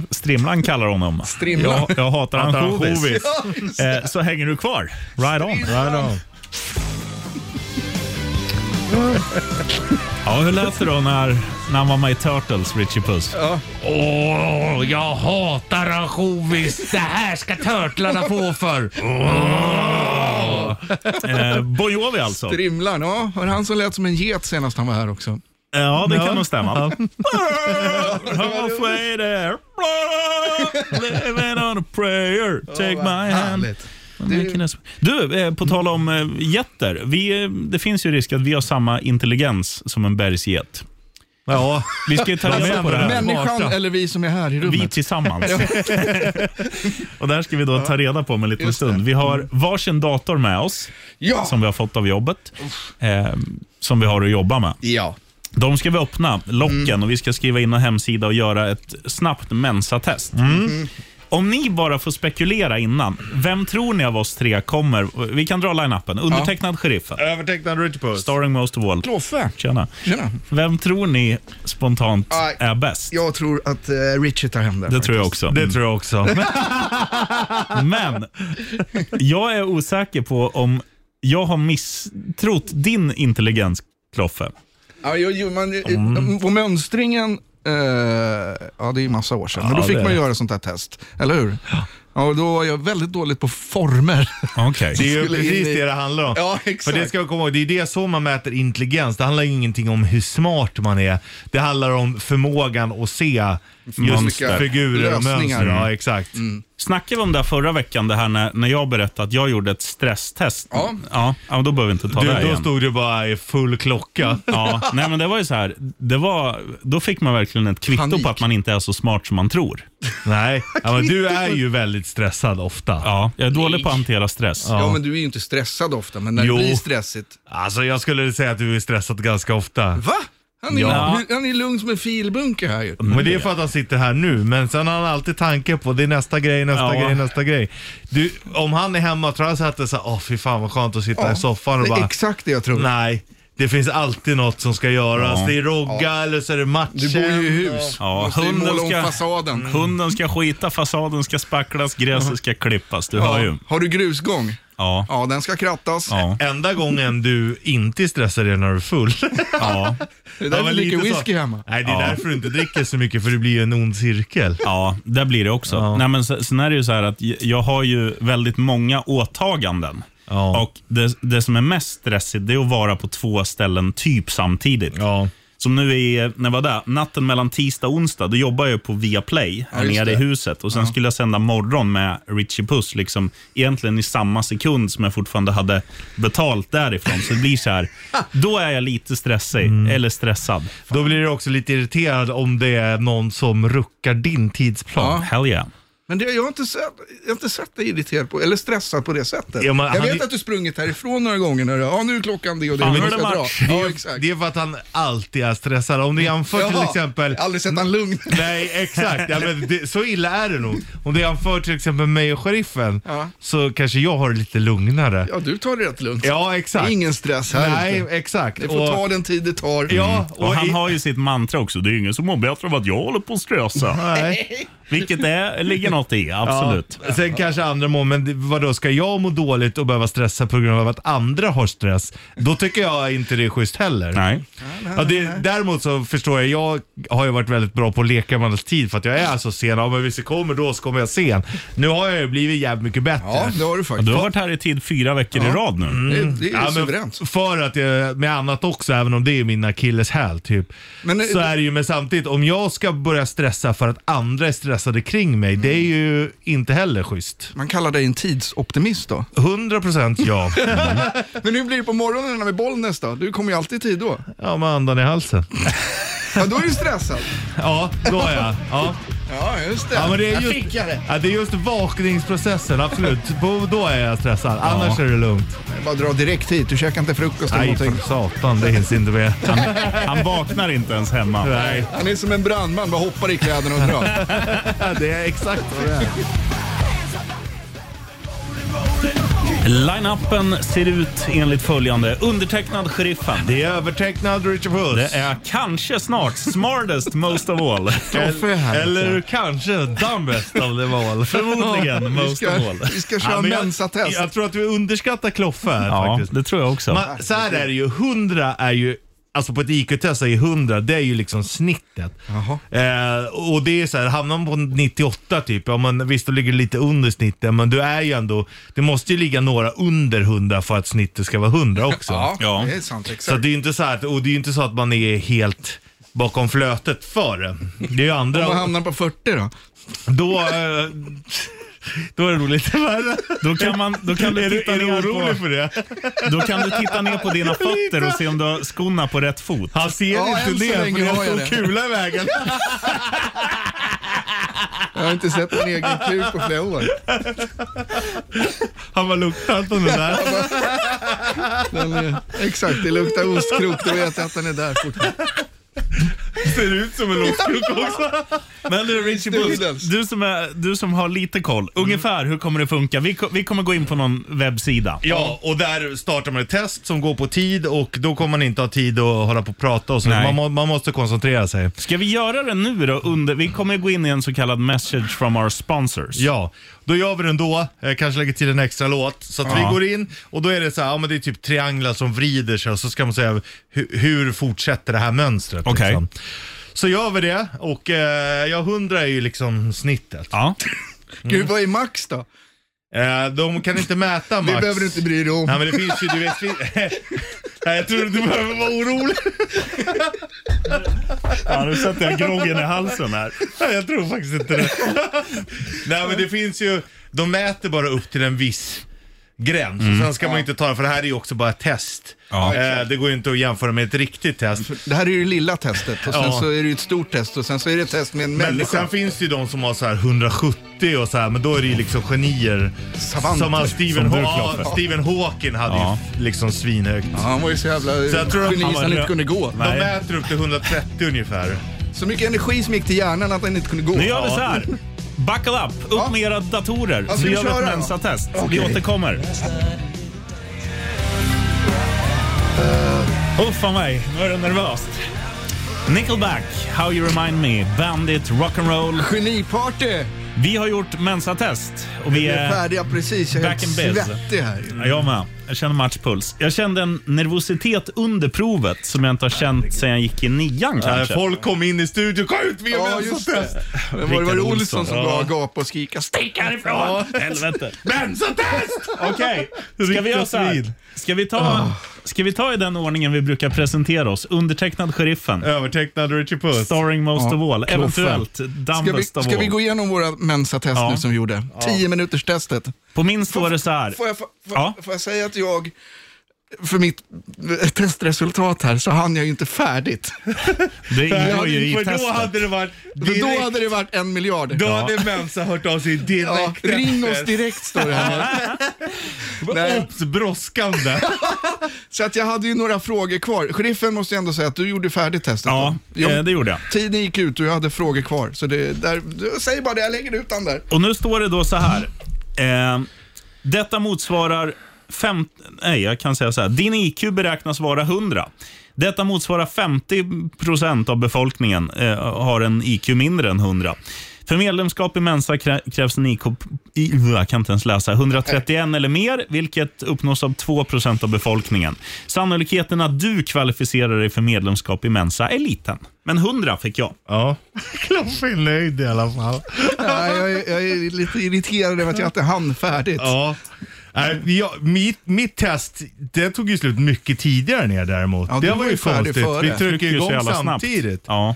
Speaker 4: Strimlan kallar honom.
Speaker 3: Strimlan?
Speaker 4: Jag, jag
Speaker 2: Hatar
Speaker 4: hatar
Speaker 2: han
Speaker 4: ansjovis.
Speaker 2: hovis.
Speaker 3: Ja, just det.
Speaker 4: Eh, Så hänger du kvar. Right on.
Speaker 2: Right on.
Speaker 4: Ja, hur lät det då när, när han var med i Turtles, Richie Puss?
Speaker 2: Åh, jag hatar ansjovis. Det här ska turtlarna få för.
Speaker 4: Eh, Bon Jovi alltså?
Speaker 3: Strimlan, ja. Var det han som lät som en get senast han var här också?
Speaker 4: Ja, det kan nog stämma.
Speaker 2: Ja.
Speaker 4: Halfway there, living on a prayer, take my hand.
Speaker 3: Härligt.
Speaker 4: Du, eh, på tal om eh, getter. Vi, eh, det finns ju risk att vi har samma intelligens som en bergsget.
Speaker 2: Ja,
Speaker 4: Vi ska ju ta reda på det här.
Speaker 3: Människan
Speaker 2: Smarta.
Speaker 3: eller vi som är här i
Speaker 4: Vi
Speaker 3: rummet?
Speaker 4: tillsammans. och det här ska vi då ta reda på om en liten stund. Vi har varsin dator med oss
Speaker 3: Ja!
Speaker 4: som vi har fått av jobbet. Eh, som vi har att jobba med.
Speaker 3: Ja.
Speaker 4: De ska vi öppna, locken,
Speaker 2: Mm.
Speaker 4: och vi ska skriva in en hemsida och göra ett snabbt mensatest.
Speaker 2: Mm.
Speaker 4: Mm. Om ni bara får spekulera innan, vem tror ni av oss tre kommer? Vi kan dra line-upen. Undertecknad Sheriffen,
Speaker 2: övertecknad Richie Puss.
Speaker 4: starring most of all.
Speaker 3: Kloffe.
Speaker 4: Tjena.
Speaker 3: Tjena.
Speaker 4: Vem tror ni spontant
Speaker 3: Aj.
Speaker 4: är bäst?
Speaker 3: Jag tror att eh, Richie tar hem det.
Speaker 4: Det tror jag också.
Speaker 2: Det tror Mm. jag också.
Speaker 4: Men jag är osäker på om jag har misstrott din intelligens, Kloffe.
Speaker 3: Ja, jo, jo, man,
Speaker 4: Mm.
Speaker 3: På mönstringen, eh, ja det är ju massa år sedan, men
Speaker 4: Ja,
Speaker 3: då fick
Speaker 4: det
Speaker 3: man
Speaker 4: är det.
Speaker 3: göra sånt här test, eller hur? Ja, och då var jag väldigt dåligt på former.
Speaker 4: Okej.
Speaker 2: Det är ju
Speaker 3: Skulle in
Speaker 2: precis
Speaker 3: i-
Speaker 2: det det handlar om.
Speaker 3: Ja, exakt.
Speaker 2: För det ska jag komma ihåg, det är det så man mäter intelligens. Det handlar ju ingenting om hur smart man är. Det handlar om förmågan att se just
Speaker 3: Mönster.
Speaker 2: figurer och
Speaker 3: Lösningar.
Speaker 2: mönster. Mm. Ja, exakt.
Speaker 4: Snackade vi om det här förra veckan, det här när, när jag berättade att jag gjorde ett stresstest?
Speaker 3: Ja.
Speaker 4: Ja, ja, då behöver vi inte ta det här
Speaker 2: Du, då
Speaker 4: igen.
Speaker 2: stod du bara i full klocka.
Speaker 4: Ja, nej men det var ju så här, det var, då fick man verkligen ett kvitto
Speaker 3: Panik.
Speaker 4: på att man inte är så smart som man tror.
Speaker 2: Nej, ja, men du är ju väldigt stressad ofta.
Speaker 4: Ja, jag är dålig på att hantera stress.
Speaker 3: Ja. men du är ju inte stressad ofta, men när
Speaker 2: Jo.
Speaker 3: det blir stressigt.
Speaker 2: Alltså jag skulle säga att du är stressad ganska ofta.
Speaker 3: Va? Han är,
Speaker 4: Ja. Mm.
Speaker 3: han är lugn som en filbunke här ju.
Speaker 2: Men det är för att han sitter här nu, men sen har han alltid tanke på det är nästa grej, nästa
Speaker 4: Ja.
Speaker 2: grej, nästa grej. Du, om han är hemma tror jag så att det är såhär, åh fy fan vad skönt att sitta i soffan och
Speaker 3: det är
Speaker 2: bara,
Speaker 3: exakt det jag tror.
Speaker 2: nej. Det finns alltid något som ska göras. Det är rogga eller så är det matchen.
Speaker 3: Du bor ju i hus.
Speaker 4: Ja,
Speaker 3: Måste ju
Speaker 4: hunden
Speaker 3: måla om
Speaker 4: ska- Mm.
Speaker 3: fasaden.
Speaker 4: Hunden ska skita, fasaden ska spacklas, gräset ska klippas. Du hör ju.
Speaker 3: Ja. Har du grusgång?
Speaker 4: Ja.
Speaker 3: Ja, den ska krattas.
Speaker 4: Ja.
Speaker 2: Enda gången du inte är stressad är när du är full.
Speaker 4: ja.
Speaker 3: Det
Speaker 2: Det
Speaker 3: är därför
Speaker 2: var
Speaker 3: du dricker
Speaker 2: lite så.
Speaker 3: whisky hemma.
Speaker 2: Nej, det är
Speaker 4: Ja.
Speaker 2: därför du inte dricker så mycket, för det blir ju en ond cirkel.
Speaker 4: Ja, där blir det också. Nej, men sen, sen är det ju så här att j- jag har ju väldigt många åtaganden.
Speaker 2: Ja.
Speaker 4: Och det, det som är mest stressigt det är att vara på två ställen typ samtidigt.
Speaker 2: Ja.
Speaker 4: Som nu är, när var det? Natten mellan tisdag och onsdag, då jobbar jag på Viaplay här
Speaker 3: just
Speaker 4: nere i
Speaker 3: det.
Speaker 4: huset. Och Sen skulle jag sända morgon med Richie Puss, liksom, egentligen i samma sekund som jag fortfarande hade betalt därifrån. Så det blir så här, då är jag lite stressig,
Speaker 2: Mm.
Speaker 4: eller stressad.
Speaker 2: Då blir du också lite irriterad om det är någon som ruckar din tidsplan.
Speaker 4: Hell yeah.
Speaker 3: Men det, jag, har inte sett, jag har inte sett dig irriterad på, eller stressad på det sättet.
Speaker 2: Ja, men
Speaker 3: jag
Speaker 2: han
Speaker 3: vet
Speaker 2: är-
Speaker 3: att du sprungit härifrån några gånger när du, ja nu är klockan det och det,
Speaker 4: Fan,
Speaker 3: nu
Speaker 4: nu är
Speaker 3: ska
Speaker 4: det
Speaker 3: jag dra.
Speaker 4: match.
Speaker 3: Ja, exakt.
Speaker 2: Det är för att han alltid är stressad. Om du jämför till
Speaker 3: Jaha,
Speaker 2: exempel Mm.
Speaker 3: jag har Aldrig sett han lugn.
Speaker 2: Nej, exakt. Ja, men det, så illa är det nog. Om det jämför till exempel mig och sheriffen
Speaker 3: Ja.
Speaker 2: så kanske jag har det lite lugnare.
Speaker 3: Ja, du tar det rätt lugnt.
Speaker 2: Ja,
Speaker 3: Det
Speaker 2: exakt.
Speaker 3: är ingen stress här
Speaker 2: Nej,
Speaker 3: ute.
Speaker 2: exakt.
Speaker 3: Det får
Speaker 2: Och-
Speaker 3: ta den tid det tar. Mm.
Speaker 2: Ja, och,
Speaker 4: Och han
Speaker 2: i,
Speaker 4: har ju sitt mantra också. Det är ju ingen som mår bättre av att jag håller på att strösa.
Speaker 2: Nej.
Speaker 4: Vilket är, ligger något i, absolut.
Speaker 2: Ja, sen kanske andra mår, men det- vadå, ska jag må dåligt och behöva stressa på grund av att andra har stress? Då tycker jag inte det är schysst heller.
Speaker 4: Nej.
Speaker 2: Ja, det, däremot så förstår jag, jag har ju varit väldigt bra på att leka med alls tid för att jag är så sen. Ja, men hvis jag kommer då så kommer jag sen. Nu har jag ju blivit jävligt mycket bättre.
Speaker 3: Ja, det har du faktiskt.
Speaker 4: Du har varit här i tid fyra veckor i rad nu.
Speaker 2: Mm.
Speaker 3: Det, det är
Speaker 2: Ja, men
Speaker 3: suveränt.
Speaker 2: För att jag, med annat också, även om det är min akilleshäl typ.
Speaker 3: Men,
Speaker 2: så
Speaker 3: eh,
Speaker 2: är det ju, men samtidigt om jag ska börja stressa för att andra är stressade kring mig, det är ju inte heller schysst.
Speaker 3: Man kallar dig en tidsoptimist då.
Speaker 2: 100% ja.
Speaker 3: Men hur blir det på morgonen när vi är Bollnäs då? Du kommer ju alltid i tid då.
Speaker 2: ja, med andan i halsen.
Speaker 3: Ja, då är du stressad.
Speaker 2: Ja, då är jag. Ja.
Speaker 3: Ja, just det.
Speaker 2: Ja, men det är
Speaker 3: Där
Speaker 2: just,
Speaker 3: fick jag det.
Speaker 2: ja, det är just vakningsprocessen, absolut. På- Då är jag stressad, annars är det lugnt.
Speaker 3: Jag bara dra direkt hit. Du käkar inte frukost eller
Speaker 2: Nej, för
Speaker 3: någonting.
Speaker 2: satan, det hinns inte med.
Speaker 4: Han vaknar inte ens hemma.
Speaker 2: Nej,
Speaker 3: Han är som en brandman, bara hoppar i kläderna och drar.
Speaker 2: det är exakt vad det är.
Speaker 4: Line-upen ser ut enligt följande. Undertecknad Sheriffen.
Speaker 2: Det är övertecknad Richard Puss.
Speaker 4: Det är kanske snart smartest most of all.
Speaker 3: Kaffe är här.
Speaker 2: Eller kanske dumbest av dem all.
Speaker 4: Förmodligen
Speaker 3: Vi
Speaker 4: most of
Speaker 3: ska,
Speaker 4: all.
Speaker 3: vi ska
Speaker 2: Ja,
Speaker 3: köra
Speaker 2: men jag-
Speaker 3: mensatest.
Speaker 2: Jag tror att vi underskattar Kloffe här
Speaker 4: Ja,
Speaker 2: faktiskt.
Speaker 4: det tror jag också.
Speaker 2: Man, så här är det ju, 100 är ju, alltså på ett IQ-test är ju 100, det är ju liksom snittet. Eh, och det är så här, hamnar man på 98 typ, ja men visst då ligger du lite under snittet, men du är ju ändå, det måste ju ligga några under 100 för att snittet ska vara 100 också.
Speaker 3: Ja,
Speaker 4: Ja.
Speaker 3: det är sant.
Speaker 2: Så att
Speaker 3: Exakt.
Speaker 2: det är ju inte så här, att- och det är ju inte så att man är helt bakom flötet för det. Det är ju andra,
Speaker 3: Om man hamnar på 40 då?
Speaker 2: då, eh, då är det nog lite värre.
Speaker 4: Då kan, man, då, kan du
Speaker 2: Är du,
Speaker 4: titta
Speaker 2: är du
Speaker 4: ner
Speaker 2: orolig
Speaker 4: på,
Speaker 2: för det?
Speaker 4: då kan du titta ner på dina fötter och se om du har skorna på rätt fot.
Speaker 2: Han ser
Speaker 3: Ja, än så
Speaker 2: inte det,
Speaker 3: länge
Speaker 2: för det
Speaker 3: har jag
Speaker 2: är
Speaker 3: det.
Speaker 2: en stor kula i vägen.
Speaker 3: Jag har inte sett min egen kuk på flera år.
Speaker 2: Han var luktat om den där.
Speaker 3: Den är, eh, exakt, det luktar ostkrok. Då vet jag att den är där fortfarande.
Speaker 2: Ser ut som en ostkrok också.
Speaker 4: Men du Richie
Speaker 3: Stundens.
Speaker 4: Puss, du som, är, du som har lite koll. Ungefär hur kommer det funka? Vi, ko- vi kommer gå in på någon webbsida.
Speaker 2: Ja, och där startar man ett test som går på tid och då kommer man inte ha tid att hålla på och prata och så.
Speaker 4: Nej.
Speaker 2: Man, må- man måste koncentrera sig.
Speaker 4: Ska vi göra det nu då? Under, vi kommer gå in i en så kallad message from our sponsors.
Speaker 2: Ja, då gör vi den då. Eh, kanske lägger till en extra låt. Så att
Speaker 4: Ja.
Speaker 2: vi går in och då är det så här, ja men det är typ trianglar som vrider sig och så ska man säga hur, hur fortsätter det här mönstret.
Speaker 4: Okej.
Speaker 2: Liksom. Så gör vi det och eh, ja, 100 är ju liksom snittet.
Speaker 4: Ja.
Speaker 2: Mm.
Speaker 3: Gud, vad är max då?
Speaker 2: Eh, de kan inte mäta
Speaker 3: Det
Speaker 2: max.
Speaker 3: behöver du inte bry dig om.
Speaker 2: Nej men det finns ju, du vet. fin- Nej, jag tror inte du behöver vara orolig.
Speaker 4: ja, nu sätter jag groggen i halsen här.
Speaker 2: Nej, jag tror faktiskt inte det. Nej men det finns ju, de mäter bara upp till en viss gräns. Och Sen ska man ju inte ta det, för det här är ju också bara ett test.
Speaker 4: Ja.
Speaker 2: Eh, det går ju inte att jämföra med ett riktigt test.
Speaker 3: Det här är ju det lilla testet och sen
Speaker 2: Ja.
Speaker 3: så är det ju ett stort test och sen så är det ett test med en
Speaker 2: Men
Speaker 3: människa.
Speaker 2: sen finns det ju de som har så här 170 och så här, men då är det ju liksom genier.
Speaker 3: Savanter.
Speaker 2: Som han Stephen,
Speaker 4: Som du,
Speaker 2: Haw-
Speaker 4: Kloffe.
Speaker 2: Stephen Hawking hade
Speaker 4: Ja.
Speaker 2: ju liksom svinhögt.
Speaker 3: Ja, han var ju så jävla
Speaker 2: Så jag tror att
Speaker 3: geni
Speaker 2: han
Speaker 3: så
Speaker 2: var
Speaker 3: han inte
Speaker 4: rö-
Speaker 3: kunde gå.
Speaker 2: De
Speaker 4: Nej.
Speaker 2: mäter upp till 130 ungefär.
Speaker 3: Så mycket energi som gick till hjärnan att han inte kunde gå.
Speaker 4: Nu gör vi så
Speaker 3: Ja.
Speaker 4: här. Buckle up, upp med era datorer.
Speaker 3: Ja,
Speaker 4: så
Speaker 3: vi
Speaker 4: gör vi
Speaker 3: kör
Speaker 4: ett
Speaker 3: då.
Speaker 4: mensatest. Vi
Speaker 3: Okej.
Speaker 4: återkommer.
Speaker 3: Eh.
Speaker 4: Uff vad mig, nu är det nervöst. Nickelback, How You Remind Me, Bandit, Rock'n'Roll.
Speaker 3: Geniparty!
Speaker 4: Vi har gjort mensatest och vi
Speaker 3: Vi är
Speaker 4: är...
Speaker 3: färdiga precis, jag är
Speaker 4: Eh, Back
Speaker 3: helt
Speaker 4: in biz.
Speaker 3: svettig här. ju.
Speaker 4: Ja, jag med. Jag känner matchpuls. Jag kände en nervositet under provet som jag inte har känt sedan jag gick i nian
Speaker 2: Eh,
Speaker 4: kanske.
Speaker 2: Folk kom in i studion, kom ut med alltså.
Speaker 3: Ja,
Speaker 2: ja,
Speaker 3: just det. Men var det
Speaker 4: Rickard
Speaker 3: var det
Speaker 4: Olsson.
Speaker 3: Olsson som
Speaker 4: Ja.
Speaker 3: bara gapade och skrika stick härifrån?
Speaker 4: Ja, helvete.
Speaker 2: Bensatest!
Speaker 4: Okej, ska vi göra så här?
Speaker 2: Riktigt Ah.
Speaker 4: Ska vi, ta, ska vi ta i den ordningen vi brukar presentera oss? Undertecknad Sheriffen,
Speaker 2: Övertecknad Richie Puss.
Speaker 4: starring most
Speaker 3: Ja,
Speaker 4: of all,
Speaker 3: Kloffe.
Speaker 4: eventuellt
Speaker 3: Ska vi,
Speaker 4: dumbest of
Speaker 3: ska vi gå
Speaker 4: all.
Speaker 3: igenom våra mensatest
Speaker 4: Ja.
Speaker 3: nu som vi gjorde? 10 minuters testet.
Speaker 4: På min står det så här.
Speaker 3: Får jag, får,
Speaker 4: Ja.
Speaker 3: får jag säga att jag för mitt eh, testresultat här så hann jag ju inte färdigt.
Speaker 4: Det ingår ju i
Speaker 2: För då
Speaker 4: testet.
Speaker 2: hade det varit
Speaker 3: Men
Speaker 2: direkt,
Speaker 3: då hade det varit en miljard.
Speaker 2: då hade Mensa hört av sig
Speaker 3: Ja,
Speaker 2: direkt
Speaker 3: ring oss
Speaker 2: efter.
Speaker 3: direkt står det här. Nej.
Speaker 2: Ops, brådskande.
Speaker 3: Så att jag hade ju några frågor kvar. Sheriffen måste jag ändå säga att du gjorde färdigt testet.
Speaker 4: Ja,
Speaker 3: då. Jag-
Speaker 4: eh, det gjorde jag.
Speaker 3: Tiden gick ut och jag hade frågor kvar. Så det, där, du- säg bara det, jag lägger ut den där.
Speaker 4: Och nu står det då så här. Eh, detta motsvarar... Fem, nej, jag kan säga så här. Din IQ beräknas vara 100. Detta motsvarar 50 av befolkningen eh, har en IQ mindre än 100. För medlemskap i Mensa krä- krävs en IQ, i, uh, jag kan inte ens läsa, 131 eller mer, vilket uppnås av 2 av befolkningen. Sannolikheten att du kvalificerar dig för medlemskap i Mensa är liten. Men 100 fick jag.
Speaker 2: Ja, Kloffe är nöjd i alla fall.
Speaker 3: Nej, jag, är- jag är lite irriterad över att jag inte hann färdigt.
Speaker 2: Ja. Nej, jag, mitt, mitt test, det tog ju slut mycket tidigare än er däremot.
Speaker 3: Ja,
Speaker 2: det
Speaker 3: du
Speaker 2: var
Speaker 3: var
Speaker 2: ju
Speaker 3: ju färdig
Speaker 2: konstigt.
Speaker 3: före.
Speaker 2: Vi
Speaker 4: Tryck
Speaker 2: trycker
Speaker 4: ju så
Speaker 2: igång
Speaker 4: jävla snabbt.
Speaker 2: samtidigt.
Speaker 4: Ja.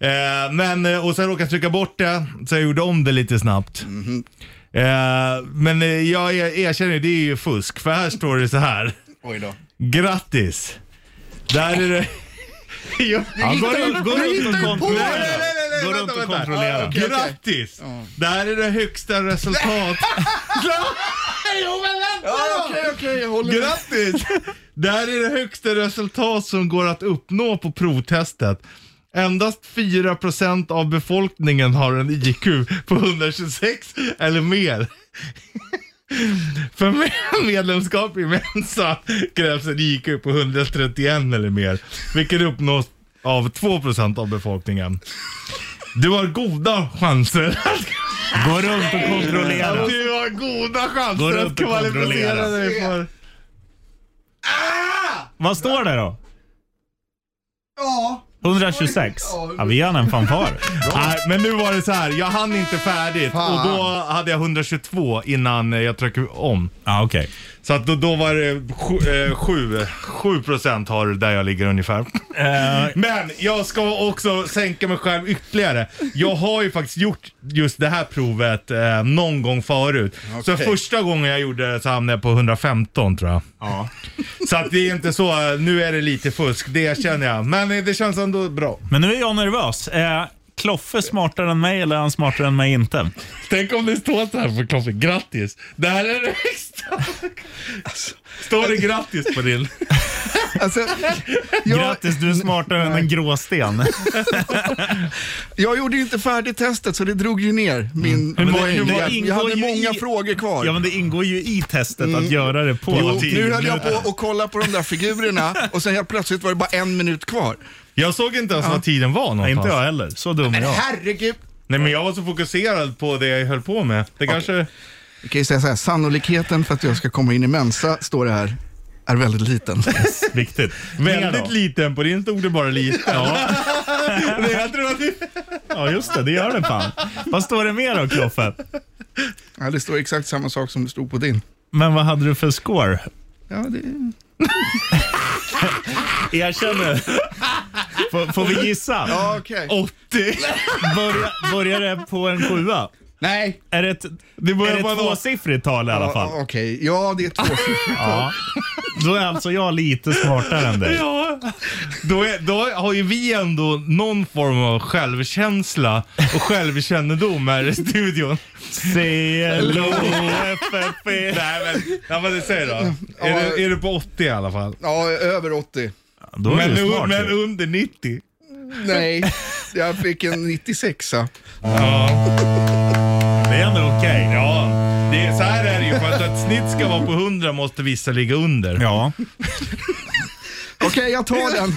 Speaker 2: Eh, men, eh, och sen råkade jag trycka bort det, så jag gjorde om det lite snabbt.
Speaker 3: Mhm.
Speaker 2: Eh, men eh, jag er- erkänner, det är ju fusk. För här står det så här.
Speaker 3: Oj då.
Speaker 2: Grattis! Där är det... Jo,
Speaker 3: gick
Speaker 2: går
Speaker 3: ju-
Speaker 2: runt- går
Speaker 3: du
Speaker 2: runt
Speaker 3: gick
Speaker 2: och
Speaker 3: ju på
Speaker 2: kontrollerar.
Speaker 3: det! Nej, nej, nej, nej,
Speaker 2: Går runt
Speaker 3: vänta,
Speaker 2: och
Speaker 3: vänta.
Speaker 2: kontrollerar.
Speaker 3: Ah, okej, okej.
Speaker 2: Grattis! Det här är det högsta resultat.
Speaker 3: Ja, Okej, okej, jag håller med.
Speaker 2: Grattis! Det här är det högsta resultat som går att uppnå på provtestet. Endast 4% av befolkningen har en IQ på 126 eller mer. För med- medlemskap i Mensa krävs en IQ på 131 eller mer, vilket uppnås av 2% av befolkningen. Du har goda chanser att
Speaker 4: Gå runt och kontrollera.
Speaker 2: du har goda
Speaker 4: Går
Speaker 2: chanser
Speaker 4: det
Speaker 2: att
Speaker 4: inte att
Speaker 2: kvalificera
Speaker 4: kontrollera?
Speaker 2: dig för...
Speaker 4: Vad står det då?
Speaker 3: Ja.
Speaker 4: 126. Ja, vi gör en fanfar.
Speaker 2: Nej, men nu var det så här. jag hann inte färdigt
Speaker 3: Fan.
Speaker 2: och då hade jag 122 innan eh, jag tryckte om.
Speaker 4: Ja, okej.
Speaker 2: Så att då, då var det 7 sju, sju procent har där jag ligger ungefär. Men jag ska också sänka mig själv ytterligare. Jag har ju faktiskt gjort just det här provet eh, någon gång förut. Så
Speaker 3: Okej.
Speaker 2: första gången jag gjorde det så hamnade jag på 115 tror jag.
Speaker 4: Ja.
Speaker 2: Så att det är inte så, eh, nu är det lite fusk, det känner jag. Men eh, det känns ändå bra.
Speaker 4: Men nu är jag nervös. Eh, Kloffe smartare än mig eller är han smartare än mig inte?
Speaker 2: Tänk om det står så här på Kloffe, grattis. Det här är det högsta. Står det grattis på din?
Speaker 3: Alltså, jag,
Speaker 4: Grattis, du är smartare än en gråsten.
Speaker 3: jag gjorde ju inte färdigt testet så det drog ju ner min...
Speaker 4: Men det-
Speaker 3: poäng.
Speaker 4: det
Speaker 3: jag, jag
Speaker 4: ingår
Speaker 3: hade
Speaker 4: ju
Speaker 3: många
Speaker 4: i-
Speaker 3: frågor kvar. Mm.
Speaker 4: Ja, men det ingår ju i testet att göra det på
Speaker 3: Jo,
Speaker 4: tio
Speaker 3: nu höll jag
Speaker 4: minuter.
Speaker 3: på att kolla på de där figurerna och sen helt plötsligt var det bara en minut kvar.
Speaker 2: Jag såg inte ens vad tiden var
Speaker 4: Nej,
Speaker 2: någonstans.
Speaker 4: inte jag heller. Så dum är jag.
Speaker 3: Herregud.
Speaker 2: Nej men jag var så fokuserad på det jag höll på med. Det kanske...
Speaker 3: Vi kan ju säga så här, sannolikheten för att jag ska komma in i Mensa, står det här, är väldigt liten.
Speaker 4: Viktigt. Mer då?
Speaker 2: Väldigt liten, på din stod det bara lite. Ja. jag tror att det...
Speaker 4: Ja, just det. Det gör det fan. Vad står det mer då, Kloffe?
Speaker 3: Ja, det står exakt samma sak som det stod på din.
Speaker 4: Men vad hade du för score?
Speaker 3: Ja, det...
Speaker 4: Erkänn får, får vi gissa?
Speaker 3: ja Ah, okej.
Speaker 2: 80.
Speaker 4: Börja, börjar det på en sjua?
Speaker 3: Nej.
Speaker 4: Är det ett,
Speaker 2: Det
Speaker 4: är
Speaker 2: börjar
Speaker 4: det
Speaker 2: på
Speaker 4: ett
Speaker 2: en åtta.
Speaker 4: tvåsiffrigt tal i alla fall?
Speaker 3: Ja, Ah, Okej, ja det är två siffror.
Speaker 4: Ja. Då är alltså jag lite smartare än dig.
Speaker 2: Ja. Då, är, då har ju vi ändå någon form av självkänsla och självkännedom här i studion.
Speaker 4: CLOFFE.
Speaker 2: Nej men, ja, vad det säger då? Är, du, är du på 80 i alla fall?
Speaker 3: Ja, över 80.
Speaker 4: Då är
Speaker 2: Men,
Speaker 4: du
Speaker 2: u-
Speaker 4: smart.
Speaker 2: men
Speaker 4: ju.
Speaker 2: under 90?
Speaker 3: Nej, jag fick en 96
Speaker 4: Det är ändå okej.
Speaker 2: Ja, det är, så här är det ju. För att ett snitt ska vara på 100 måste vissa ligga under.
Speaker 4: Ja.
Speaker 3: Okej, jag tar den.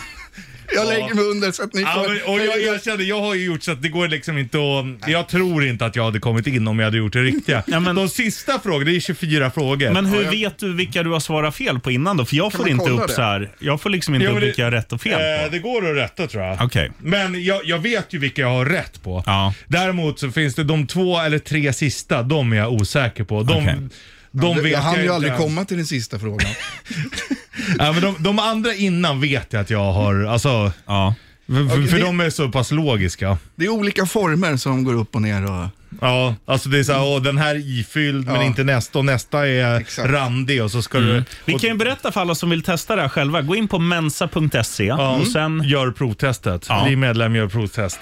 Speaker 3: Jag lägger mig under så att ni
Speaker 2: Ja, men,
Speaker 3: får...
Speaker 2: och jag, jag kände, jag har ju gjort så att det går liksom inte att... Jag tror inte att jag hade kommit in om jag hade gjort det riktiga.
Speaker 4: Ja, men-
Speaker 2: De sista frågorna, det är 24 frågor.
Speaker 4: Men hur vet du vilka du har svarat fel på innan då? För jag får
Speaker 3: man
Speaker 4: inte
Speaker 3: kolla
Speaker 4: upp
Speaker 3: det?
Speaker 4: så här. Jag får liksom inte
Speaker 2: Ja,
Speaker 4: upp
Speaker 2: men det-
Speaker 4: vilka jag har rätt och fel
Speaker 2: Eh,
Speaker 4: på.
Speaker 2: det går att rätta tror jag.
Speaker 4: Okej.
Speaker 2: Men jag, jag vet ju vilka jag har rätt på.
Speaker 4: Ja.
Speaker 2: Däremot så finns det de två eller tre sista, de är jag osäker på. De,
Speaker 4: Okej.
Speaker 2: de vet
Speaker 3: jag hann
Speaker 2: jag
Speaker 3: ju
Speaker 2: inte
Speaker 3: aldrig
Speaker 2: ens.
Speaker 3: komma till den sista frågan.
Speaker 2: Ja, men de, de andra innan vet jag att jag har, alltså,
Speaker 4: Ja.
Speaker 2: för, för
Speaker 3: det-
Speaker 2: de är så pass logiska.
Speaker 3: Det är olika former som går upp och ner och...
Speaker 2: Ja, alltså det är såhär, åh den här är ifylld men
Speaker 3: Ja.
Speaker 2: inte nästa och nästa är
Speaker 3: Exakt.
Speaker 2: randig och så ska du...
Speaker 4: Vi
Speaker 2: och,
Speaker 4: kan ju berätta för alla som vill testa det här själva. Gå in på mensa.se och sen
Speaker 2: Gör provtestet.
Speaker 4: Ja.
Speaker 2: Bli medlem, gör provtest.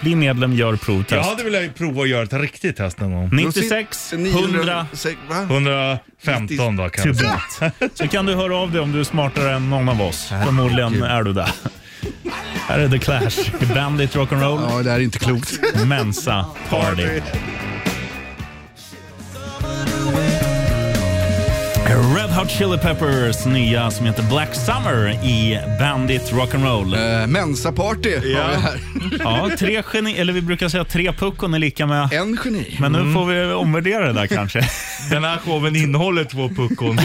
Speaker 4: bli medlem, gör provtest.
Speaker 2: Jag hade velat prova att göra ett riktigt test någon gång.
Speaker 4: 96 100
Speaker 3: Va?
Speaker 2: 115 då
Speaker 4: to
Speaker 2: kanske.
Speaker 4: beat. Så kan du höra av dig om du är smartare än någon av oss. Förmodligen är du det. Här är The Clash, Bandit Rock'n'Roll,
Speaker 3: Ja, det här är inte klokt.
Speaker 4: Mensa Party. Red Hot Chili Peppers nya som heter Black Summer i Bandit Rock'n'Roll.
Speaker 3: Eh, Mensaparty har vi här.
Speaker 4: Ja, tre geni, eller vi brukar säga tre puckon är lika med
Speaker 3: En geni.
Speaker 4: men nu får vi omvärdera det där kanske.
Speaker 2: Mm. Den här showen innehåller två puckon.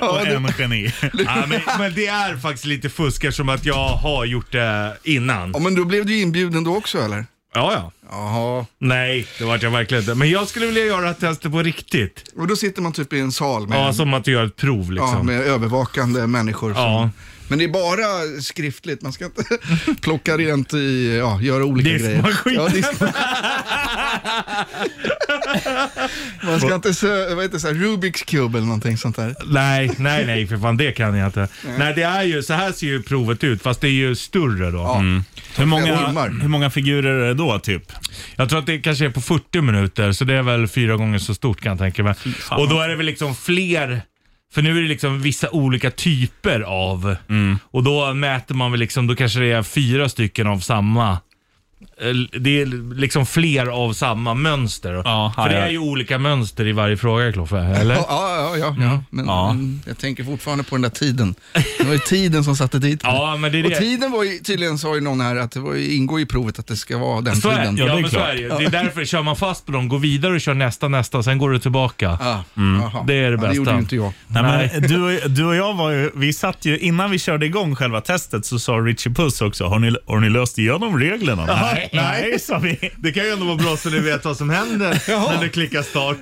Speaker 4: Och en geni.
Speaker 2: ja, men, men det är faktiskt lite fusk eftersom att jag har gjort det innan.
Speaker 3: Ja, men då blev du inbjuden då också eller?
Speaker 2: Ja, ja.
Speaker 3: Jaha.
Speaker 2: Nej, det vart jag verkligen inte. Men jag skulle vilja göra ett test på riktigt.
Speaker 3: Och då sitter man typ i en sal med,
Speaker 2: Ja, som att du gör ett prov liksom.
Speaker 3: ja, med övervakande människor. som-
Speaker 2: Ja.
Speaker 3: Men det är bara skriftligt, man ska inte plocka rent i, ja, göra olika
Speaker 2: Diskmaskin.
Speaker 3: grejer. Ja, diskmaskin. man ska inte sö, vad heter det, så här, Rubiks kub eller någonting sånt där.
Speaker 2: Nej, nej, nej för fan det kan jag inte. Nej, det är ju, så här ser ju provet ut fast det är ju större då. Mm.
Speaker 4: Hur många,
Speaker 3: ormar.
Speaker 4: hur många figurer är det då typ?
Speaker 2: Jag tror att det kanske är på 40 minuter så det är väl fyra gånger så stort kan jag tänka mig.
Speaker 4: fan.
Speaker 2: Och då är det väl liksom fler för nu är det liksom vissa olika typer av och då mäter man väl liksom, då kanske det är fyra stycken av samma. Eller, Det är liksom fler av samma mönster.
Speaker 4: Ja,
Speaker 2: för det
Speaker 4: ja.
Speaker 2: är ju olika mönster i varje fråga Kloffe, eller?
Speaker 3: Ja, ja, ja. ja, ja. Men
Speaker 4: Ja.
Speaker 3: mm, jag tänker fortfarande på den där tiden. Det var ju tiden som satte dit mig.
Speaker 2: Ja, men det är
Speaker 3: Och
Speaker 2: det.
Speaker 3: tiden var ju, tydligen sa ju någon här att det var ju, ingår i provet att det ska vara den
Speaker 2: Så är,
Speaker 3: tiden.
Speaker 2: ja,
Speaker 4: det är
Speaker 2: men så
Speaker 4: klart.
Speaker 2: är det ju. Det är därför kör man fast på dem, går vidare och kör nästa, nästa, sen går du tillbaka.
Speaker 3: Ja, jaha.
Speaker 2: Mm. Det är det
Speaker 3: ja,
Speaker 2: bästa.
Speaker 3: Det gjorde ju inte jag.
Speaker 4: Nej, men du, och- du och jag var ju, vi satt ju, innan vi körde igång själva testet så sa Richie Puss också, har ni, har ni löst igenom reglerna? Nej, nej, sa vi.
Speaker 2: Det kan ju ändå vara bra så ni vet vad som händer när du klickar start.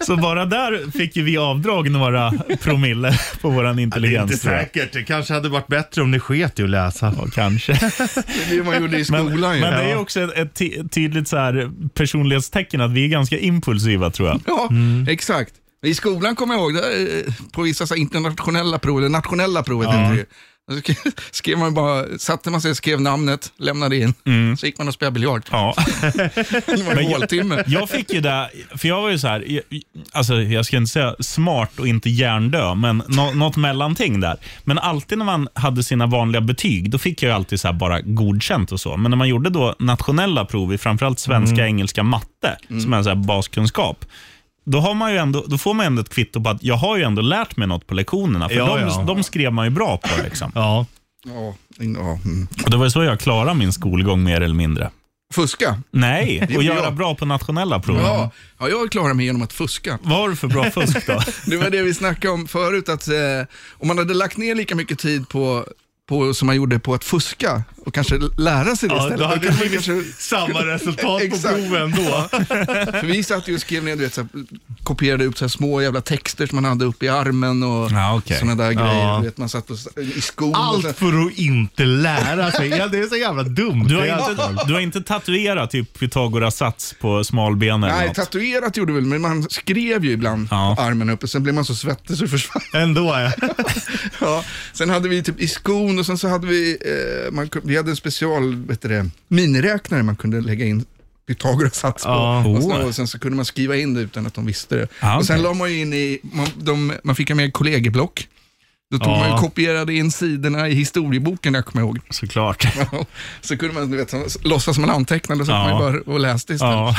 Speaker 4: Så bara där fick ju vi avdrag några promille på våran
Speaker 2: Inte
Speaker 4: intelligens. tror jag.
Speaker 2: säkert. Det kanske hade varit bättre om ni sket i att läsa.
Speaker 4: Ja, kanske.
Speaker 3: Det är det man gjorde i skolan ju.
Speaker 4: Men det är också ett, ett ty- tydligt så här personlighetstecken att vi är ganska impulsiva tror jag.
Speaker 3: Ja, exakt. I skolan kommer jag ihåg, där, eh, på vissa så här internationella prov, eller nationella provet heter det ju. Då sk- Skrev man bara, satte man sig, skrev namnet, lämnade in, så gick man och spelade biljard.
Speaker 4: Ja.
Speaker 3: Det var en håltimme.
Speaker 4: Jag fick ju det, för jag var ju så här, jag- alltså jag ska inte säga smart och inte hjärndö, men nå, något mellanting där. Men alltid när man hade sina vanliga betyg, då fick jag ju alltid så här bara godkänt och så. Men när man gjorde då nationella prov i framförallt svenska,
Speaker 2: Mm.
Speaker 4: engelska, matte, som är en så här baskunskap, då, har man ju ändå, då får man ändå ett kvitto på att jag har ju ändå lärt mig något på lektionerna. För
Speaker 2: Ja,
Speaker 4: de,
Speaker 2: ja.
Speaker 4: de skrev man ju bra på. Liksom.
Speaker 2: Ja.
Speaker 3: Ja, ja, mm.
Speaker 4: Och Det var ju så jag klarade min skolgång mer eller mindre.
Speaker 3: Fuska.
Speaker 4: Nej, och
Speaker 3: gjorde
Speaker 4: göra
Speaker 3: jag.
Speaker 4: bra på nationella prov.
Speaker 3: Ja, ja, jag klarar mig genom att fuska.
Speaker 4: Vad har du för bra fusk då?
Speaker 3: Det var det vi snackade om förut, att eh, om man hade lagt ner lika mycket tid på, på som man gjorde på att fuska och kanske lära sig det
Speaker 2: ja,
Speaker 3: istället.
Speaker 2: då hade
Speaker 3: då kanske
Speaker 2: det
Speaker 3: man kanske-
Speaker 2: blivit samma resultat på
Speaker 3: Exakt.
Speaker 2: proven då.
Speaker 3: För vi satt ju och skrev ner, du vet, så här, kopierade upp så här små jävla texter som man hade uppe i armen och
Speaker 4: Ja, okej.
Speaker 3: sådana där grejer.
Speaker 2: Ja.
Speaker 3: Du vet, man satt och, i skon och så här.
Speaker 2: Allt för att inte lära sig. Ja, det är så jävla dumt.
Speaker 4: Du har,
Speaker 2: Det är alltså-
Speaker 4: inte, du har inte tatuerat typ Pythagoras sats på smalbenen eller
Speaker 3: Nej,
Speaker 4: något?
Speaker 3: tatuerat gjorde väl, men man skrev ju ibland
Speaker 4: Ja.
Speaker 3: på armen uppe, sen blev man så svettig så det försvann.
Speaker 2: Ändå ja.
Speaker 3: Ja. Sen hade vi typ i skon och sen så hade vi, eh, man, kun- vi hade en special, vad heter det, miniräknare man kunde lägga in Pythagoras sats på.
Speaker 2: Ja.
Speaker 3: och, sen,
Speaker 4: Oh.
Speaker 3: och sen så kunde man skriva in det utan att de visste det.
Speaker 4: Ah,
Speaker 3: Och sen
Speaker 4: okej.
Speaker 3: la man ju in i, man, de, man fick ha med kollegieblock. Då tog man
Speaker 2: Ja.
Speaker 3: ju kopierade in sidorna i historieboken, jag kommer ihåg.
Speaker 4: Såklart.
Speaker 3: Så kunde man du vet, så- låtsas som man antecknade och så
Speaker 4: Ja.
Speaker 3: satt man ju bara och läste istället.
Speaker 4: Ja.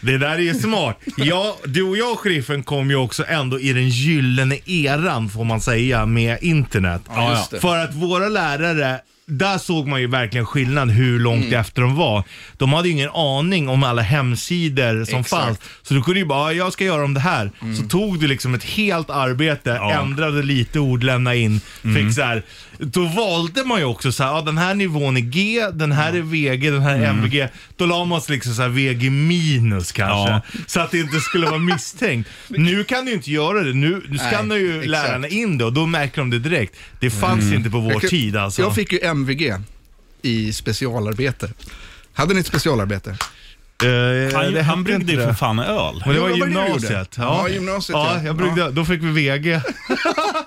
Speaker 2: Det där är ju smart. Ja, du och jag, sheriffen, kom ju också ändå i den gyllene eran, får man säga, med internet.
Speaker 3: Ja, just det.
Speaker 2: För att våra lärare, där såg man ju verkligen skillnad hur långt
Speaker 3: Mm.
Speaker 2: efter de var. De hade ju ingen aning om alla hemsidor som
Speaker 3: Exakt.
Speaker 2: fanns. Så du kunde ju bara, "Ja, jag ska göra om det här.
Speaker 3: Mm.
Speaker 2: Så tog du liksom ett helt arbete, ändrade lite ord, lämna in,
Speaker 3: Mm.
Speaker 2: fick så här. Då valde man ju också så här, ja, den här nivån är G, den här är VG, den
Speaker 3: Mm.
Speaker 2: här är MVG. Då la man sig liksom så här VG minus kanske.
Speaker 4: Ja.
Speaker 2: Så att det inte skulle vara misstänkt. Nu kan du ju inte göra det. Nu, nu skannar ju
Speaker 3: exakt. Mm.
Speaker 2: lärarna in det och då märker de det direkt. Det fanns inte på vår
Speaker 3: Jag kan-
Speaker 2: tid alltså.
Speaker 3: Jag fick ju MVG i specialarbete. Hade ni ett specialarbete?
Speaker 2: Eh,
Speaker 4: Han,
Speaker 2: det hette
Speaker 4: han bryggde
Speaker 2: inte
Speaker 4: ju
Speaker 2: det.
Speaker 4: för fan öl.
Speaker 2: Men det var
Speaker 3: Jo, vad var det du
Speaker 2: gymnasiet.
Speaker 3: gjorde? Ja, gymnasiet,
Speaker 2: Ja,
Speaker 3: ja.
Speaker 2: jag bryggde, Då fick vi VG.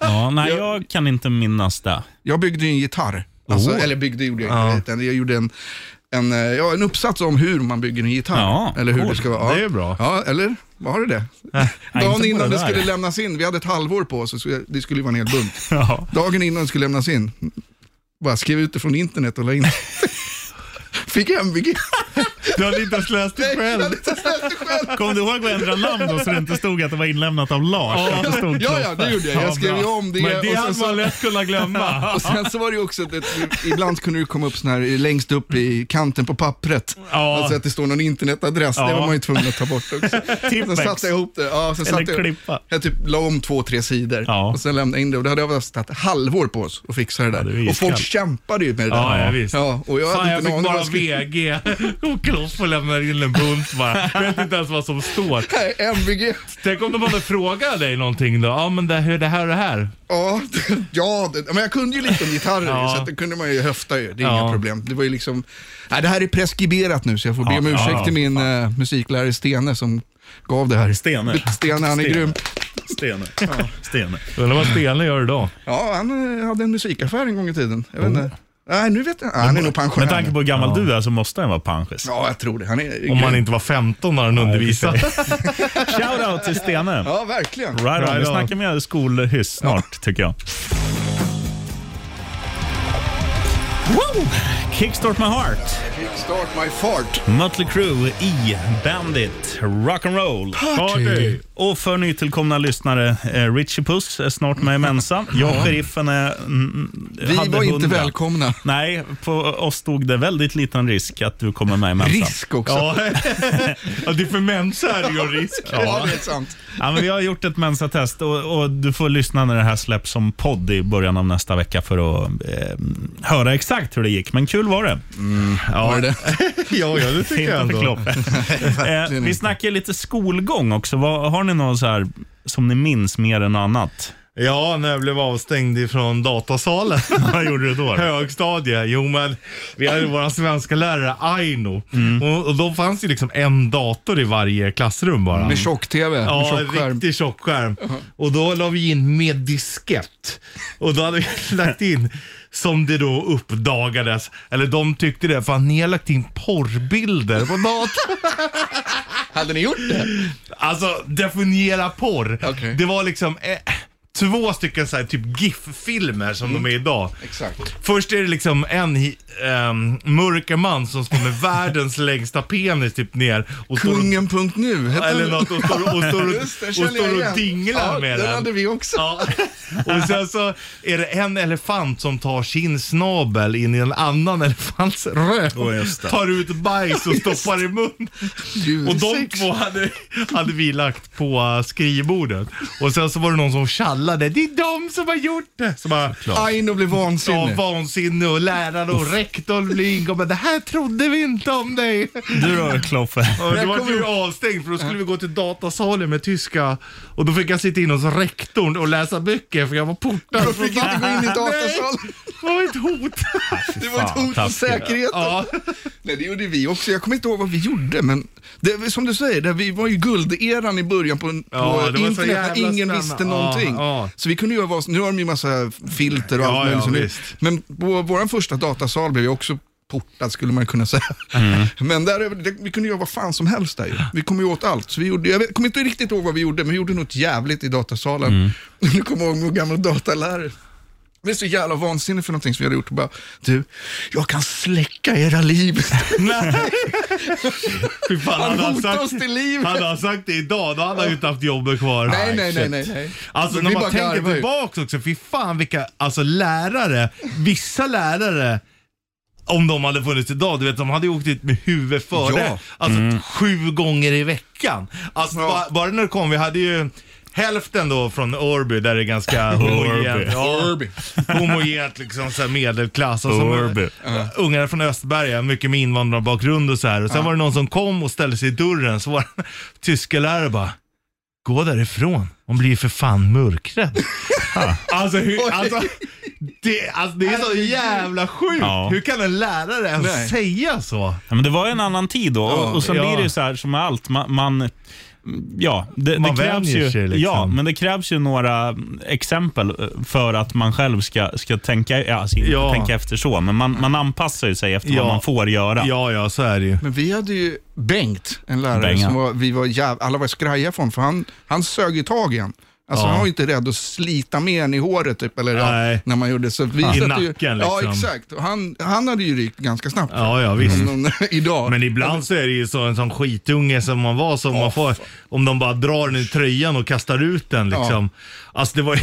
Speaker 4: Ja, nej, jag kan inte minnas det.
Speaker 3: Jag byggde ju en gitarr. Alltså, Eller byggde gjorde jag inte, utan jag gjorde en, en, eh, ja, en uppsats om hur man bygger en gitarr.
Speaker 4: Ja,
Speaker 3: eller hur det
Speaker 4: coolt.
Speaker 3: ska vara. Ja.
Speaker 2: Det är bra.
Speaker 3: Ja, eller var det det?
Speaker 4: nej, inte
Speaker 3: Dagen
Speaker 4: på
Speaker 3: innan
Speaker 4: det
Speaker 3: det
Speaker 4: där.
Speaker 3: skulle lämnas in, vi hade ett halvår på oss, så skulle- det skulle ju vara en hel bunt.
Speaker 4: Ja.
Speaker 3: Dagen innan det skulle lämnas in, bara skrev ut det från internet och la in. Fick MVG.
Speaker 2: Du hade inte ens läst det
Speaker 3: Jag
Speaker 2: själv.
Speaker 3: hade inte ställt det själv.
Speaker 4: Kom du ihåg att ändra namn då så det inte stod att det var inlämnat av Lars? att det stod
Speaker 3: Ja, ja, det gjorde jag. Jag skrev ju om det.
Speaker 2: Men det
Speaker 3: och sen
Speaker 2: hade
Speaker 3: så-
Speaker 2: man lätt kunnat glömma.
Speaker 3: Och sen så var det ju också att det, ibland kunde det komma upp sån här längst upp i kanten på pappret.
Speaker 4: Ja.
Speaker 3: Alltså att det står någon internetadress, det
Speaker 4: Ja.
Speaker 3: var man ju tvungen att ta bort också. sen
Speaker 4: Tippex.
Speaker 3: satte jag ihop det. Ja, sen
Speaker 4: Eller
Speaker 3: satte jag,
Speaker 4: klippa.
Speaker 3: jag typ la om två, tre sidor
Speaker 4: Ja.
Speaker 3: och sen lämnade jag in det. Och då hade jag haft ett halvår på oss att fixa det där.
Speaker 4: det är ju
Speaker 3: och folk
Speaker 4: iskallt.
Speaker 3: kämpade ju med det där.
Speaker 2: Ja, ja, visst.
Speaker 3: Ja, och jag
Speaker 2: Fan,
Speaker 3: hade
Speaker 2: jag
Speaker 3: inte
Speaker 2: fick
Speaker 3: någon aning
Speaker 2: bara
Speaker 3: vad skulle...
Speaker 2: VG. Och Kloff och lämnar in en bunt bara. Jag vet inte ens vad som står.
Speaker 3: Nej, MVG.
Speaker 2: Tänk om de hade frågat dig någonting då. Ja, men det, hur det här och det här.
Speaker 3: Ja, det- ja det, men jag kunde ju lite om gitarrer,
Speaker 2: Ja.
Speaker 3: så att det kunde man ju höfta ju. Det är
Speaker 2: Ja.
Speaker 3: inga problem. Det var ju liksom, nej, det här är preskriberat nu, så jag får be om
Speaker 4: Ja,
Speaker 3: ursäkt
Speaker 4: ja,
Speaker 3: till min eh, musiklärare Stene som gav det här.
Speaker 4: Stene.
Speaker 3: Stene, han är
Speaker 4: Stene.
Speaker 3: grym.
Speaker 4: Stene. Stene.
Speaker 2: Undrar vad Stenle gör idag.
Speaker 3: Ja, han eh, hade en musikaffär en gång i tiden. Jag vet inte. Nej, nu vet jag ah, Han är nog pensionär.
Speaker 4: Oh. Med tanke på hur gammal du är så måste han vara panschis.
Speaker 3: Ja, jag tror det. Han är
Speaker 2: Om
Speaker 3: grym.
Speaker 2: man inte var 15 när han undervisade.
Speaker 4: Shoutout till Stene.
Speaker 3: Ja, verkligen.
Speaker 4: Right on. Vi
Speaker 2: Right on.
Speaker 4: snackar mer skolhyss snart, tycker jag. Woo! Kickstart My Heart,
Speaker 3: Start my fart.
Speaker 4: Mötley Crüe i Bandit, Rock'n'Roll.
Speaker 2: Party.
Speaker 4: Och för nytillkomna lyssnare, eh, Richie Puss är snart med i Mensa. Jag och sheriffen är... Mm,
Speaker 3: Vi
Speaker 4: hade Alltså.
Speaker 3: var inte
Speaker 4: 100.
Speaker 3: välkomna.
Speaker 4: Nej, på oss stod det väldigt liten risk att du kommer med i Mensa.
Speaker 3: Risk också. Ja,
Speaker 2: Ja. ja, det är för människor är det ju en risk.
Speaker 3: det är sant.
Speaker 4: Ja, men vi har gjort ett mensatest och, och du får lyssna när det här släpps som podd i början av nästa vecka för att eh, höra exakt hur det gick. Men kul var det.
Speaker 3: Var det det?
Speaker 2: Ja, ja, det tycker jag
Speaker 4: Inte för
Speaker 2: ändå.
Speaker 4: Klopp. eh, vi
Speaker 3: inte.
Speaker 4: snackar lite skolgång också. Vad, har ni något så här som ni minns mer än annat?
Speaker 2: Ja, när jag blev avstängd ifrån datasalen.
Speaker 4: Vad gjorde du då?
Speaker 2: Högstadie. Jo, men vi hade våra svenska lärare Aino. Och, och då fanns ju liksom en dator i varje klassrum bara.
Speaker 3: Med tjock-tv, med
Speaker 2: Ja, en
Speaker 3: tjockskärm.
Speaker 2: riktig tjockskärm. Och då la vi in med diskett. Och då hade vi lagt in, som det då uppdagades, eller de tyckte det, fan ni har lagt in porrbilder på datorn.
Speaker 3: Hade ni gjort det?
Speaker 2: Alltså definiera porr.
Speaker 3: Okej.
Speaker 2: Det var liksom eh, två stycken så här, typ GIF-filmer som de är
Speaker 3: Mm.
Speaker 2: idag.
Speaker 3: Exakt.
Speaker 2: Först är det liksom en um, mörker man som står med världens längsta penis typ ner och står och
Speaker 3: Kungen.nu hette
Speaker 2: eller
Speaker 3: den.
Speaker 2: något och står och, står och,
Speaker 3: Just det,
Speaker 2: och,
Speaker 3: känner jag
Speaker 2: står
Speaker 3: igen.
Speaker 2: och dinglar
Speaker 3: ja,
Speaker 2: med
Speaker 3: den.
Speaker 2: den.
Speaker 3: hade vi också.
Speaker 2: Ja. Och sen så är det en elefant som tar sin snabel in i en annan elefants röv.
Speaker 4: Åh, just det.
Speaker 2: tar ut bajs och stoppar i mun.
Speaker 3: Djursex.
Speaker 2: Och de två hade, hade vi lagt på eh, skrivbordet. Och sen så var det någon som tjallade. Det är de som har gjort det. Så bara,
Speaker 3: Aino blev
Speaker 2: Ja,
Speaker 3: vansinnig.
Speaker 2: vansinne och lärare och rektorn blir inkommen. Det här trodde vi inte om dig.
Speaker 4: Du då Kloffe?
Speaker 2: Ja,
Speaker 3: Jag
Speaker 2: Då var
Speaker 3: kommer
Speaker 2: vi ju
Speaker 3: ihåg-
Speaker 2: avstängd för då skulle vi gå till datasalen med tyska och då fick jag sitta in hos rektorn och läsa böcker för jag var portad.
Speaker 3: De fick inte gå in i datasalen.
Speaker 2: Det var ett hot.
Speaker 3: Det var ett
Speaker 4: Fan,
Speaker 3: hot mot
Speaker 4: taskigt.
Speaker 3: säkerheten.
Speaker 2: Ja.
Speaker 3: Nej, det gjorde vi också. Jag kommer inte ihåg vad vi gjorde, men det, som du säger, det, vi var ju gulderan i början på,
Speaker 2: Ja,
Speaker 3: på
Speaker 2: det var så
Speaker 3: internet när
Speaker 2: jävla
Speaker 3: ingen
Speaker 2: spännande.
Speaker 3: visste
Speaker 2: Ja,
Speaker 3: någonting.
Speaker 2: ja.
Speaker 3: Så vi kunde göra vad som- Nu har de ju massa filter och
Speaker 2: Ja,
Speaker 3: allt möjligt.
Speaker 2: ja,
Speaker 3: som nu-
Speaker 2: visst.
Speaker 3: Men på vår första datasal blev jag också portad skulle man kunna säga.
Speaker 2: Mm.
Speaker 3: Men där, över- det, vi kunde göra vad fan som helst där ju. Vi kom ju åt allt. Så vi gjorde, jag vet, kommer inte riktigt ihåg vad vi gjorde, men vi gjorde något jävligt i datasalen.
Speaker 2: Mm.
Speaker 3: Nu kommer jag ihåg vår gamla datalärare. Vi är så jävla vansinnig för någonting som vi hade gjort och bara, du, jag kan släcka era liv.
Speaker 2: Nej. Fy fan,
Speaker 3: Han
Speaker 2: hade
Speaker 3: hotar
Speaker 2: sagt-
Speaker 3: oss till livet.
Speaker 2: Hade han sagt det idag, då hade han ju inte haft jobbet kvar.
Speaker 3: Nej, nej,
Speaker 2: shit.
Speaker 3: nej, nej, nej.
Speaker 2: Alltså
Speaker 3: Men
Speaker 2: när
Speaker 3: vi
Speaker 2: man
Speaker 3: bara
Speaker 2: tänker
Speaker 3: garvar ju.
Speaker 2: tillbaka också, fy fan vilka alltså, lärare, vissa lärare om de hade funnits idag, du vet de hade ju åkt dit med huvudet före.
Speaker 3: Ja.
Speaker 2: Alltså sju gånger i veckan. Alltså
Speaker 3: Ja.
Speaker 2: ba, bara när det kom, vi hade ju hälften då från Örby där det är ganska homogent. Ja,
Speaker 3: Irby.
Speaker 2: homogent liksom så här medelklass. Och så
Speaker 4: Örby.
Speaker 2: Ja. Ungarna Uh-huh. från Östberga, mycket med invandrarbakgrund och så här. Och sen var det någon som kom och ställde sig i dörren, så var det en tyska lärare bara Gå därifrån, hon blir ju för fan mörkrädd. alltså, hur, alltså, Det, alltså, det är så jävla sjukt.
Speaker 4: Ja.
Speaker 2: Hur kan en lärare ens
Speaker 3: Nej.
Speaker 2: säga så?
Speaker 4: Ja, men det var en annan tid då och, och sen
Speaker 2: Ja.
Speaker 4: blir det ju så här som med allt. Man, man, ja, det,
Speaker 2: Man
Speaker 4: det krävs
Speaker 2: vänjer
Speaker 4: ju,
Speaker 2: sig liksom.
Speaker 4: Ja, men det krävs ju några exempel eh, för att man själv ska, ska tänka, ja, alltså inte
Speaker 2: Ja.
Speaker 4: tänka efter så, men man, man anpassar ju sig efter
Speaker 2: Ja.
Speaker 4: vad man får göra.
Speaker 2: Ja, ja, så är det ju.
Speaker 3: Men vi hade ju Bengt, en lärare
Speaker 4: Benga.
Speaker 3: som var, vi var jäv, alla var skraja från, för han, han sög ju tag i en. Alltså
Speaker 2: Ja.
Speaker 3: han var ju inte rädd att slita med en i håret typ, eller
Speaker 2: Nej.
Speaker 3: när man gjorde så. Vi
Speaker 2: I
Speaker 3: satte ju,
Speaker 2: nacken,
Speaker 3: Ja,
Speaker 2: liksom.
Speaker 3: exakt. Och Han, han hade ju rykt ganska snabbt. Mm,
Speaker 2: Ja, ja, visst.
Speaker 3: Någon, idag.
Speaker 2: Men ibland så är det ju så, en sån skitunge som man var som man får, om de bara drar den i tröjan och kastar ut den liksom. Alltså det var ju,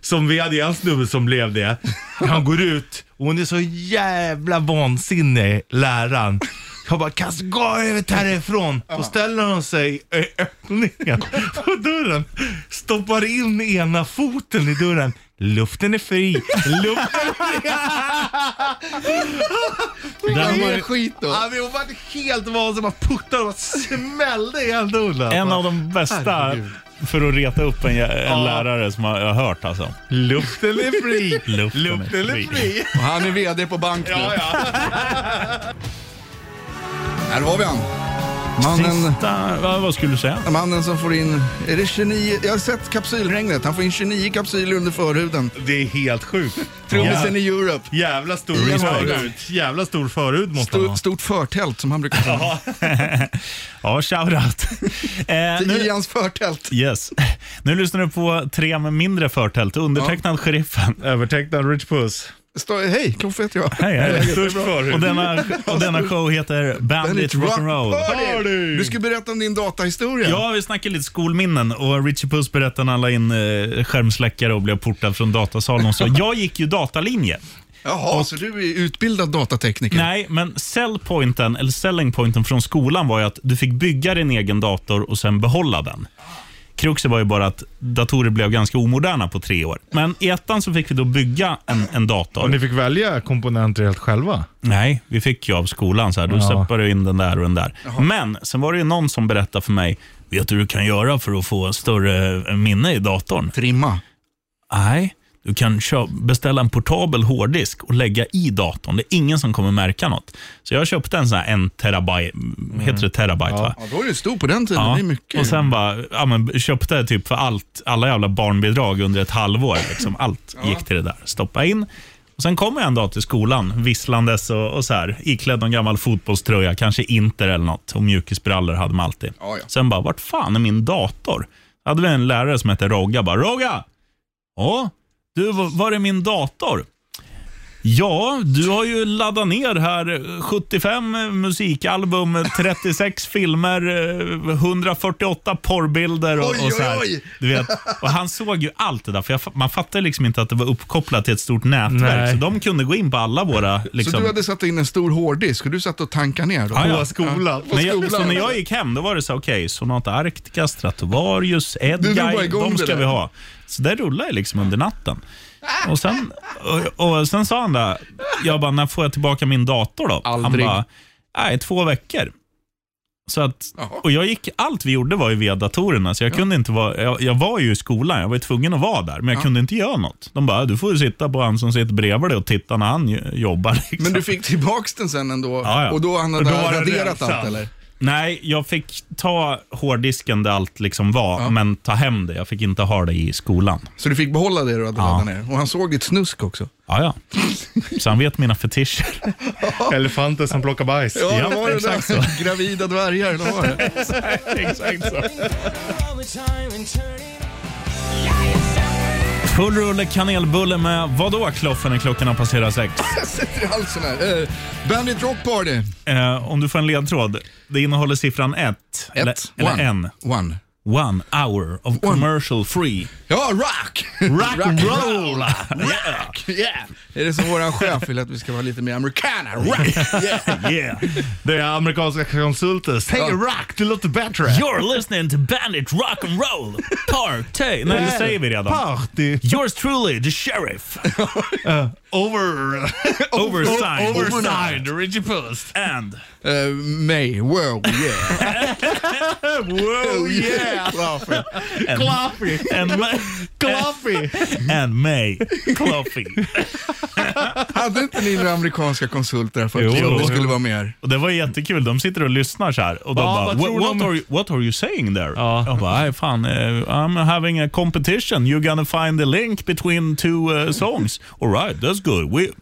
Speaker 2: som vi hade ju en snubbe som blev det. Han går ut och hon är så jävla vansinnig, läraren. Jag bara, kasta gå ut härifrån. Då ställer hon sig i öppningen på dörren, stoppar in ena foten i dörren. Luften är fri, luften är fri.
Speaker 3: Där
Speaker 4: Den
Speaker 3: var
Speaker 4: var
Speaker 3: det skit då.
Speaker 2: Ja, vi har varit helt vansinniga. Man puttade och bara smällde igen dörren.
Speaker 4: En av de bästa
Speaker 2: Herregud.
Speaker 4: för att reta upp en, jä- en
Speaker 2: Ja.
Speaker 4: lärare som jag jag har hört alltså.
Speaker 2: Luften är fri.
Speaker 4: Luften är fri.
Speaker 3: Och han är vd på bank nu.
Speaker 2: Ja, ja.
Speaker 3: Här har vi han. Mannen,
Speaker 4: Sista, vad, vad skulle du säga?
Speaker 3: mannen som får in, är det 29, jag har sett kapsylregnet, han får in 29 kapsyler under förhuden.
Speaker 2: Det är helt sjukt.
Speaker 3: Trummisen i Europe.
Speaker 2: Jävla stor
Speaker 3: Ingen
Speaker 2: förhud. Jävla stor förhud måste han
Speaker 3: Stort,
Speaker 2: ha.
Speaker 3: stort förtält som han brukar säga.
Speaker 4: Ja, shoutout. eh, nu,
Speaker 3: I hans förtält.
Speaker 4: yes. nu lyssnar du på Tre med mindre förtält, undertecknad Sheriffen.
Speaker 2: Övertecknad Rich Puss.
Speaker 3: Står- Hej, Kloffe heter jag.
Speaker 4: Hej, hej.
Speaker 2: Störst
Speaker 4: Och
Speaker 2: förhud.
Speaker 4: denna, och denna show heter Bandit
Speaker 3: Bandit Rock
Speaker 4: Rock'n'Roll.
Speaker 2: Party!
Speaker 3: Du ska berätta om din datahistoria.
Speaker 4: Ja, vi snackar lite skolminnen och Richie Puss berättade när han la in eh, skärmsläckare och blev portad från datasalen och så. Jag gick ju datalinje.
Speaker 3: Jaha, så du är utbildad datatekniker?
Speaker 4: Nej, men sellpointen, eller selling pointen från skolan var ju att du fick bygga din egen dator och sen behålla den. Kruxet var ju bara att datorer blev ganska omoderna på tre år. Men i ettan så fick vi då bygga en, en dator.
Speaker 2: Och ni fick välja komponenter helt själva?
Speaker 4: Nej, vi fick ju av skolan så här. Då
Speaker 2: Ja.
Speaker 4: stoppar du in den där och den där. Men sen var det ju någon som berättade för mig, vet du hur du kan göra för att få större minne i datorn?
Speaker 3: Trimma.
Speaker 4: Nej, du kan kö- beställa en portabel hårddisk och lägga i datorn. Det är ingen som kommer märka något. Så jag köpte en sån här en terabyte, heter det terabyte va?
Speaker 3: Ja, då är du stor på den tiden.
Speaker 4: Ja.
Speaker 3: Det är mycket.
Speaker 4: Och sen bara, ja, men köpte typ för allt, alla jävla barnbidrag under ett halvår. Liksom. Allt gick till det där. Stoppa in. Och sen kommer jag en dag till skolan visslandes och, och så här, iklädd någon gammal fotbollströja, kanske Inter eller något. Och mjukisbrallor hade man alltid.
Speaker 3: Ja, ja.
Speaker 4: Sen bara, vart fan är min dator? Då hade vi en lärare som hette Rogga. Bara, Rogga! Ja, du, v- var är min dator? Ja, du har ju laddat ner här 75 musikalbum, 36 filmer, eh, 148 porrbilder och,
Speaker 3: Oj,
Speaker 4: och så här.
Speaker 3: oj, oj.
Speaker 4: Du vet. Och han såg ju allt det där, för jag, fa- man fattade liksom inte att det var uppkopplat till ett stort nätverk.
Speaker 2: Nej.
Speaker 4: Så de kunde gå in på alla våra... Liksom,
Speaker 3: Så du hade satt in en stor hårddisk och du satt och tankade ner då?
Speaker 4: Ah, Ja, ja.
Speaker 2: På skolan?
Speaker 3: på
Speaker 4: Men jag,
Speaker 3: skolan.
Speaker 4: så när jag gick hem, då var det så här, okej, Sonata Arctica, Stratovarius,
Speaker 3: drog bara
Speaker 4: Edguy,
Speaker 3: igång
Speaker 4: de
Speaker 3: det
Speaker 4: ska
Speaker 3: där.
Speaker 4: vi ha. Så det rullade jag liksom under natten. Och sen, och, och sen sa han där, jag bara, när får jag tillbaka min dator då?
Speaker 3: Aldrig.
Speaker 4: Han bara, nej, två veckor. Så att,
Speaker 3: Jaha.
Speaker 4: och jag gick, allt vi gjorde var ju via datorerna, så jag kunde inte vara, jag, jag var ju i skolan, jag var ju tvungen att vara där, men jag kunde inte göra något. De bara, du får ju sitta på han som sitter bredvid dig och titta när han ju- jobbar. Liksom.
Speaker 3: Men du fick tillbaks den sen ändå
Speaker 4: Ja, ja.
Speaker 3: och då han
Speaker 2: Och
Speaker 3: hade
Speaker 2: då var den
Speaker 3: raderat
Speaker 2: rensad.
Speaker 3: allt eller?
Speaker 4: Nej, jag fick ta hårddisken där allt liksom var, men ta hem det. Jag fick inte ha det i skolan.
Speaker 3: Så du fick behålla det du hade
Speaker 4: Ja.
Speaker 3: laddat ner? Och han såg ditt snusk också?
Speaker 4: Ja, ja. Så han vet mina fetischer.
Speaker 2: Elefanten som plockar bajs.
Speaker 3: Ja,
Speaker 4: Ja,
Speaker 3: det var det
Speaker 4: exakt
Speaker 3: där. Gravida dvärgar, det var det.
Speaker 4: Exakt så. Full rulle kanelbulle med vadå Kloffen när klockan har passerat sex?
Speaker 3: Jag sätter i halsen här. Eh, Bandit Rock Party.
Speaker 4: Eh, om du får en ledtråd. Det innehåller siffran ett. Eller,
Speaker 3: Ett.
Speaker 4: eller
Speaker 3: one.
Speaker 4: en.
Speaker 3: One.
Speaker 4: One hour of commercial free.
Speaker 3: Ja, rock!
Speaker 4: Rock'n'roll!
Speaker 3: Yeah! Är det som våran chef vill att vi ska vara lite mer amerikaner? Rock!
Speaker 4: yeah, yeah.
Speaker 2: Det är amerikanska konsulter. Säg
Speaker 3: Ja.
Speaker 2: rock, det låter bättre.
Speaker 4: You're listening to Bandit Rock and Roll Party. Nej, det säger vi redan.
Speaker 2: Party.
Speaker 4: Yours truly, the sheriff.
Speaker 2: Uh, over...
Speaker 4: Oversigned.
Speaker 2: Oversigned, Richie Puss.
Speaker 4: And.
Speaker 3: Eh, May, wow, yeah.
Speaker 2: Wow,
Speaker 3: yeah. Varför?
Speaker 4: and
Speaker 2: Coffee.
Speaker 4: And, ma-
Speaker 2: Coffee.
Speaker 4: and May. Coffee.
Speaker 3: Hade inte ni några amerikanska konsulter här för att
Speaker 2: Jo.
Speaker 3: jo, det skulle vara mer?
Speaker 4: Och det var jättekul. De sitter och lyssnar så här och de
Speaker 2: Ja,
Speaker 4: bara
Speaker 2: vad
Speaker 4: "What-
Speaker 2: tror
Speaker 4: what,
Speaker 2: de-
Speaker 4: are you, “What are you saying there?”
Speaker 2: Ja.
Speaker 4: Jag bara, "Nej, fan, eh, “I'm having a competition. You're gonna find the link between two eh, songs.” “Alright, that's good. We, I,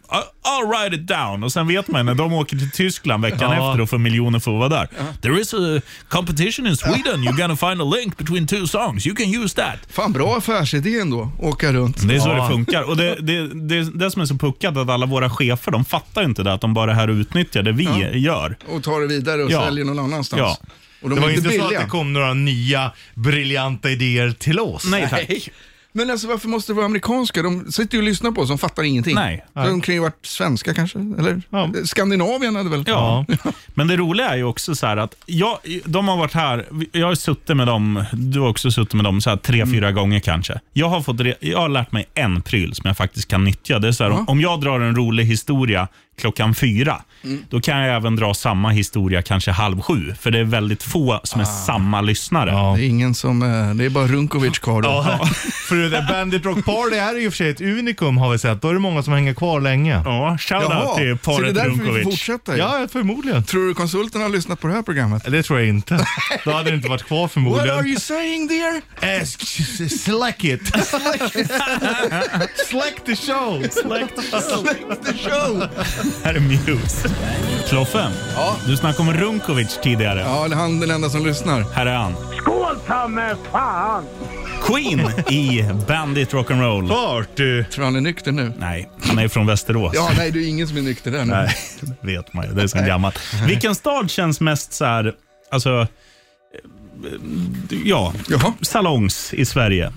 Speaker 4: I'll write it down.” Och sen vet man när de åker till Tyskland veckan
Speaker 2: Ja.
Speaker 4: efter och får miljoner för att vara där. “There is a competition in Sweden. You're gonna find a link between two songs. You can use that.”
Speaker 3: Fan, bra affärsidé ändå. Åka runt.
Speaker 4: Det är så
Speaker 2: Ja.
Speaker 4: det funkar. Och det, det, det, det som är så puckat är att alla våra chefer de fattar ju inte det, att de bara är här och utnyttjar det vi gör.
Speaker 3: Och tar det vidare och
Speaker 4: Ja.
Speaker 3: säljer någon annanstans.
Speaker 4: Ja.
Speaker 3: Och de
Speaker 2: Det var
Speaker 3: är inte
Speaker 2: inte så att
Speaker 3: billiga.
Speaker 2: det kom några nya briljanta idéer till oss.
Speaker 4: Nej tack.
Speaker 3: Men alltså varför måste det vara amerikanska? De sitter ju och lyssnar på oss, de fattar ingenting.
Speaker 4: Nej.
Speaker 3: Så de kan ju varit svenska kanske, eller?
Speaker 2: Ja.
Speaker 3: Skandinavien hade väl?
Speaker 4: Ja. Men det roliga är ju också så här att jag, de har varit här, jag har suttit med dem, du har också suttit med dem så här tre,
Speaker 3: Mm.
Speaker 4: fyra gånger kanske. Jag har, fått, re- jag har lärt mig en pryl som jag faktiskt kan nyttja. Det är så här, om- om jag drar en rolig historia klockan fyra,
Speaker 3: Mm.
Speaker 4: då kan jag även dra samma historia kanske halv sju, för det är väldigt få som
Speaker 3: Ah.
Speaker 4: är samma lyssnare.
Speaker 3: Det är ingen som, eh, det är bara Runkovic kvar då.
Speaker 2: Ja, för det där Bandit Rock Party här är ju i och för sig ett unikum har vi sett. Då är det många som hänger kvar länge.
Speaker 4: Ja, shoutout till
Speaker 3: så det är
Speaker 4: paret
Speaker 3: därför vi får
Speaker 4: Runkovic.
Speaker 3: fortsätta ju.
Speaker 2: Ja, förmodligen.
Speaker 3: Tror du konsulterna har lyssnat på det här programmet?
Speaker 2: Det tror jag inte. Då hade det inte varit kvar
Speaker 3: What
Speaker 2: förmodligen.
Speaker 3: are you saying dear?
Speaker 2: Eh, s- s- Slack it. Slack the show. Slack the show.
Speaker 3: The show!
Speaker 4: Här är Muse. Kloffe, du snackade om Runkovic tidigare.
Speaker 3: Ja, det är han den enda som lyssnar.
Speaker 4: Här är han.
Speaker 6: Skål ta mig fan!
Speaker 4: Queen i Bandit Rock'n'Roll.
Speaker 2: Party.
Speaker 3: Tror han är nykter nu?
Speaker 4: Nej, han är från Västerås.
Speaker 3: Ja, nej det är ingen som är nykter där nu.
Speaker 4: Nej, det vet man ju. Det är så gammalt. Vilken stad känns mest så här, alltså, eh, ja,
Speaker 3: Jaha,
Speaker 4: salongs i Sverige?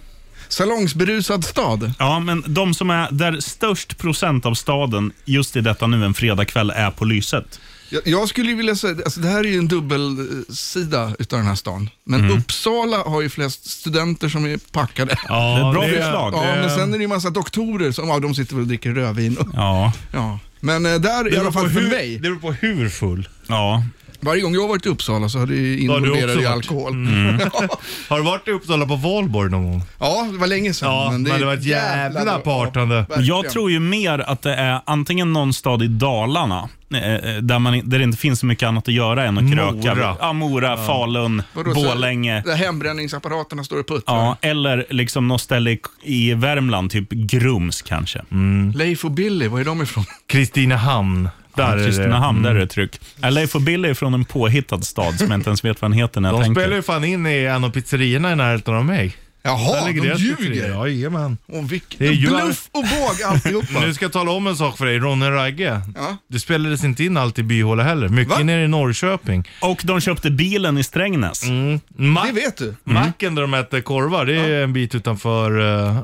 Speaker 3: salongsberusad stad.
Speaker 4: Ja, men de som är där störst procent av staden just i detta nu en fredagkväll är på lyset.
Speaker 3: Jag, jag skulle ju vilja säga, alltså det här är ju en dubbelsida utav den här stan. Men Uppsala har ju flest studenter som är packade.
Speaker 2: Ja,
Speaker 4: Det är ett bra
Speaker 2: det är-
Speaker 4: förslag.
Speaker 3: Ja,
Speaker 4: Det-
Speaker 3: men sen är det ju massa doktorer som, ja de sitter väl och dricker rödvin. och-
Speaker 4: Ja,
Speaker 3: Ja. Men eh, där, i alla fall för
Speaker 2: hur,
Speaker 3: mig,
Speaker 2: Det beror på hur full.
Speaker 4: ja.
Speaker 3: varje gång jag har varit i Uppsala så har det ju
Speaker 2: har du
Speaker 3: involverat
Speaker 2: också
Speaker 3: i
Speaker 2: varit. Mm.
Speaker 3: alkohol. ja,
Speaker 2: Har du varit i Uppsala på valborg någon gång?
Speaker 3: ja, det var länge sedan.
Speaker 2: Ja, men det var ett jävla partande.
Speaker 4: Jag tror ju mer att det är antingen någon stad i Dalarna, eh, eh, där, man, i- där det inte finns så mycket annat att göra än att kröka.
Speaker 2: Mora.
Speaker 4: Ja, Mora, Falun, Borlänge.
Speaker 3: Där hembränningsapparaterna står och puttar.
Speaker 4: Ja, eller liksom något ställe i- i Värmland, typ Grums kanske.
Speaker 2: Mm.
Speaker 3: Leif och Billy, var är de ifrån?
Speaker 2: Kristinehamn. Där
Speaker 4: Där
Speaker 2: är mm.
Speaker 4: Kristinehamn, där är det tryck. Ja, Leif och Billy är från en påhittad stad som jag inte ens vet vad den heter när jag
Speaker 2: det. De spelar
Speaker 4: tänker.
Speaker 2: ju fan in i en av pizzerierna i närheten av mig.
Speaker 3: Jaha,
Speaker 2: Där ligger
Speaker 3: de
Speaker 2: deras pizzeria.
Speaker 3: ljuger.
Speaker 2: Jajamän.
Speaker 3: Och
Speaker 2: Det är
Speaker 3: vilken
Speaker 2: ju-
Speaker 3: bluff och båg alltihopa.
Speaker 2: Nu ska jag tala om en sak för dig, Ronny Ragge.
Speaker 3: Ja.
Speaker 2: Det spelades inte in allt i Byhåla heller. Mycket
Speaker 3: Va?
Speaker 2: nere i Norrköping.
Speaker 4: Och de köpte bilen i Strängnäs.
Speaker 2: Ma-
Speaker 3: Det vet du.
Speaker 4: Mm.
Speaker 2: Macken där de äter korvar, det är en bit utanför... eh,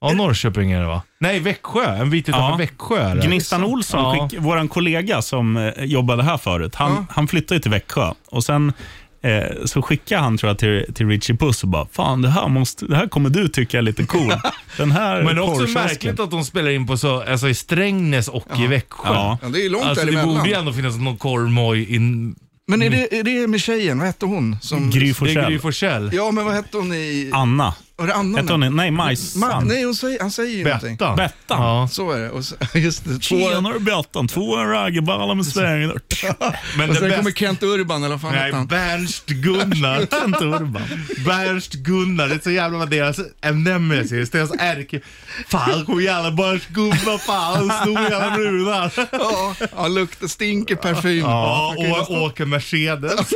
Speaker 2: ja, Norrköping är det va? Nej, Växjö. En bit utanför
Speaker 4: Ja.
Speaker 2: Växjö är det.
Speaker 4: Gnistan Olsson,
Speaker 2: Ja.
Speaker 4: skick, våran kollega som eh, jobbade här förut, han,
Speaker 3: Ja.
Speaker 4: han flyttade ju till Växjö. Och sen eh, så skickade han tror jag, till, till Richie Puss och bara, fan det här, måste, det här kommer du tycka är lite cool. Den här
Speaker 2: Men också
Speaker 4: korvkiosken."
Speaker 2: märkligt att de spelar in på så, alltså i Strängnäs och i Växjö.
Speaker 4: Ja.
Speaker 3: Ja, det är ju långt
Speaker 2: Alltså det
Speaker 3: däremellan.
Speaker 2: borde ju ändå finnas någon korvmoj in...
Speaker 3: Men är
Speaker 2: Mm.
Speaker 3: det, är det med tjejen, vad hette hon? Som...
Speaker 4: Gry
Speaker 2: Det är Gry
Speaker 4: Forssell.
Speaker 2: Forssell.
Speaker 3: Ja, men vad hette hon i...
Speaker 4: Anna.
Speaker 3: Var det Anna?
Speaker 4: Hette hon Nej, Majsan.
Speaker 3: Ma- nej, hon säger, han säger ju någonting.
Speaker 2: Bettan.
Speaker 4: Bettan.
Speaker 2: Ja.
Speaker 3: Så är det. Och så, just det. Två,
Speaker 4: Tjenare Bettan, två raggarballar med sväng.
Speaker 2: Men
Speaker 3: och
Speaker 2: det
Speaker 3: sen
Speaker 2: bästa...
Speaker 3: kommer Kent Urban, eller vad fan
Speaker 2: Nej,
Speaker 3: hette han?
Speaker 2: Bernst-Gunnar.
Speaker 4: Kent Urban.
Speaker 2: Bernst-Gunnar, det är så jävla vad deras nemesis, deras ärke... Fan kom jävla Bernst-Gunnar, fan stor jävla brudar.
Speaker 3: Ja, ja lukta, stinker parfym.
Speaker 2: Ja,
Speaker 3: Man kan ju
Speaker 2: och
Speaker 3: nästan,
Speaker 2: åker Mercedes.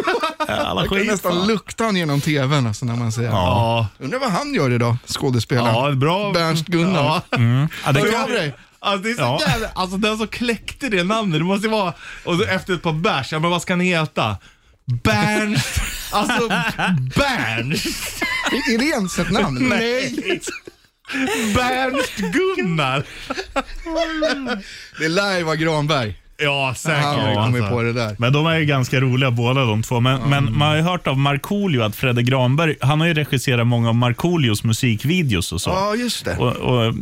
Speaker 4: Alla
Speaker 3: man kan
Speaker 4: skit.
Speaker 3: nästan lukta han genom tvn alltså, när man ser ja.
Speaker 2: Ja,
Speaker 3: Undrar vad han gör idag, skådespelaren.
Speaker 2: ja bra. Mm.
Speaker 3: Bernst-Gunnar.
Speaker 2: Ja.
Speaker 4: Ja, det
Speaker 3: Hör
Speaker 4: kan-
Speaker 3: av dig.
Speaker 2: Alltså, det är så
Speaker 4: Ja.
Speaker 2: jävla, alltså den som kläckte det namnet, det måste ju vara... Och så efter ett par bärs, ja men vad ska han heta? Bernst. Alltså Bernst.
Speaker 3: Är är det ens ett namn?
Speaker 2: Nej. Bernst-Gunnar.
Speaker 3: Det är live av Granberg.
Speaker 2: Ja, säkert.
Speaker 3: Han har ju kommit
Speaker 2: alltså.
Speaker 3: på det där.
Speaker 4: Men de är ju ganska roliga båda de två. Men, men man har ju hört av Markoolio att Fredde Granberg, han har ju regisserat många av Markoolios musikvideos och så.
Speaker 3: Ja, just det.
Speaker 4: Och, och